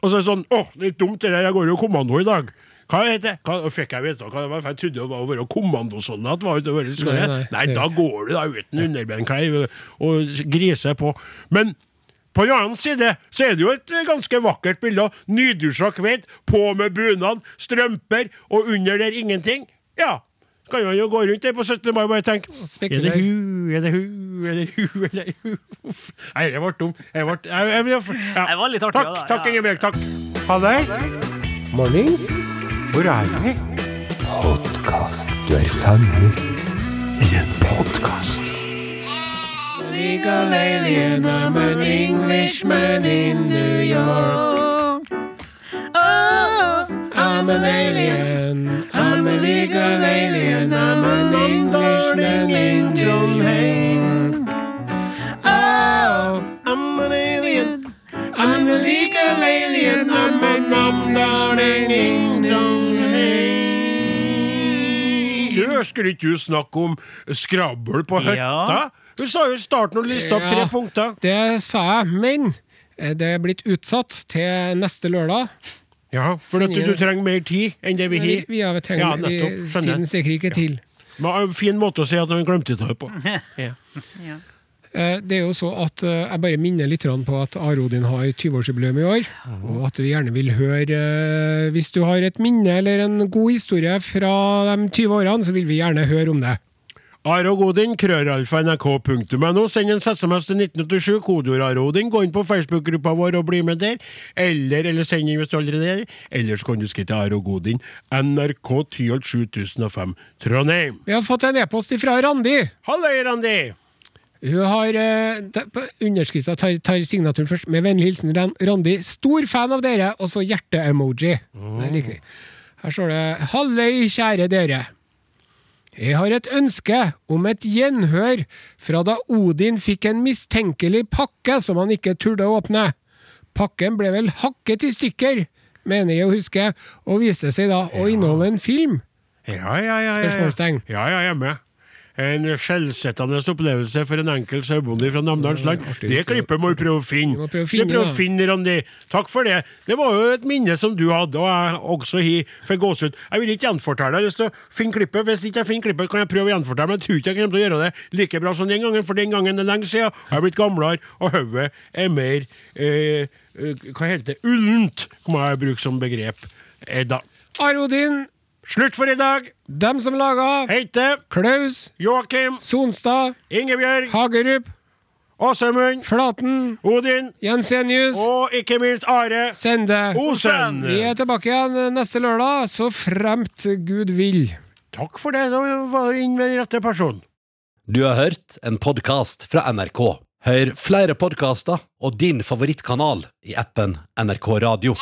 Speaker 8: Og så er det sånn Å, litt dumt det der, jeg går jo kommando i dag. Hva heter det? Hva- og Fikk jeg vite hva det var? For jeg trodde det var å være kommandosoldat. Var ute, og være, skal
Speaker 2: Nei,
Speaker 8: jeg? Nei,
Speaker 2: nei, det-
Speaker 8: da går du da uten underbenklær og griser på. Men på den annen side så er det jo et ganske vakkert bilde. av Nydusja kveit, på med bunad, strømper, og under der ingenting. Ja. Så kan man jo gå rundt der på 17. mai og bare tenke Er det
Speaker 2: spekulere.
Speaker 8: hu, er det hu, er det hu, er det hu Uff. Nei, det ble dum. Jeg ble, jeg, jeg, jeg, ja.
Speaker 4: Det var litt artig,
Speaker 8: Takk,
Speaker 4: da, ja.
Speaker 8: takk Ingebjørg. Takk. Ha det.
Speaker 9: Mornings. Hvor er vi? Podkast. Du er fanget i en podkast.
Speaker 8: Du, skulle ikke du snakke om skrabbel på høtta?
Speaker 4: Ja.
Speaker 8: Du sa jo i starten og lista opp tre
Speaker 2: Ja.
Speaker 8: punkter.
Speaker 2: Det sa jeg, men eh, det er blitt utsatt til neste lørdag.
Speaker 8: Ja, For at du, du trenger mer tid enn det vi
Speaker 2: Vi,
Speaker 8: har.
Speaker 2: vi har trengt,
Speaker 8: ja,
Speaker 2: vi,
Speaker 8: nettopp. Skjønner.
Speaker 2: tiden strekker ikke til.
Speaker 8: Men en fin måte å si at han glemte det på.
Speaker 2: Eh, Det er jo så at eh, Jeg bare minner litt grann på at Are Odin har 20-årsjubileum i år. Og at vi gjerne vil høre eh, Hvis du har et minne eller en god historie fra de 20 årene, så vil vi gjerne høre om det.
Speaker 8: Are og Odin, krøralfa nrk.no. Send en SMS til 1987, kodeord Are Odin. Gå inn på Facebook-gruppa vår og bli med der. Eller, eller send inn hvis du allerede er der. Ellers kan du skrive til Are og Odin, NRK 107005 Trondheim.
Speaker 2: Vi har fått en e-post fra Randi.
Speaker 8: Halløy, Randi!
Speaker 2: Hun har eh, de- på underskrifta tar, tar signaturen først. Med vennlig hilsen Ran- Randi. Stor fan av dere, og så hjerte-emoji. Det liker vi. Her står det 'Halløy, kjære dere'. Jeg har et ønske om et gjenhør fra da Odin fikk en mistenkelig pakke som han ikke turde å åpne. Pakken ble vel hakket i stykker, mener jeg å huske, og viste seg da å inneholde en film.
Speaker 8: Ja, ja, ja. ja.
Speaker 2: Spørsmålstegn.
Speaker 8: Ja, ja, jeg er med. En skjellsettende opplevelse for en enkel sauebonde fra Namdalens land.
Speaker 2: artig.
Speaker 8: Det klippet må vi prøve å
Speaker 2: Vi
Speaker 8: finne.
Speaker 2: må prøve å
Speaker 8: Det
Speaker 2: finne
Speaker 8: prøver å
Speaker 2: det.
Speaker 8: finne, Randi. Takk for det. Det var jo et minne som du hadde, og jeg også har for gåsehud. Jeg vil ikke gjenfortelle. Jeg har lyst til å finne klippet. Hvis ikke jeg finner klippet, kan jeg prøve å gjenfortelle, men jeg tror ikke jeg kommer til å gjøre det like bra som den gangen, for den gangen er lenge siden. Jeg er blitt gamlere, og hodet er mer eh, eh, Hva heter det? Ullent, må jeg bruke som begrep. Eh, da.
Speaker 2: Are Odin,
Speaker 8: Slutt for i dag.
Speaker 2: dem som laga
Speaker 8: Heite
Speaker 2: Klaus,
Speaker 8: Joakim,
Speaker 2: Sonstad,
Speaker 8: Ingebjørg,
Speaker 2: Hagerup,
Speaker 8: Åsemund,
Speaker 2: Flaten,
Speaker 8: Odin
Speaker 2: Jensenius,
Speaker 8: og ikke minst Are
Speaker 2: Sende.
Speaker 8: Osen.
Speaker 2: Vi er tilbake igjen neste lørdag, så fremt Gud vil.
Speaker 8: Takk for det, da var du inne med den rette personen.
Speaker 10: Du har hørt en podkast fra NRK. Hør flere podkaster og din favorittkanal i appen NRK Radio.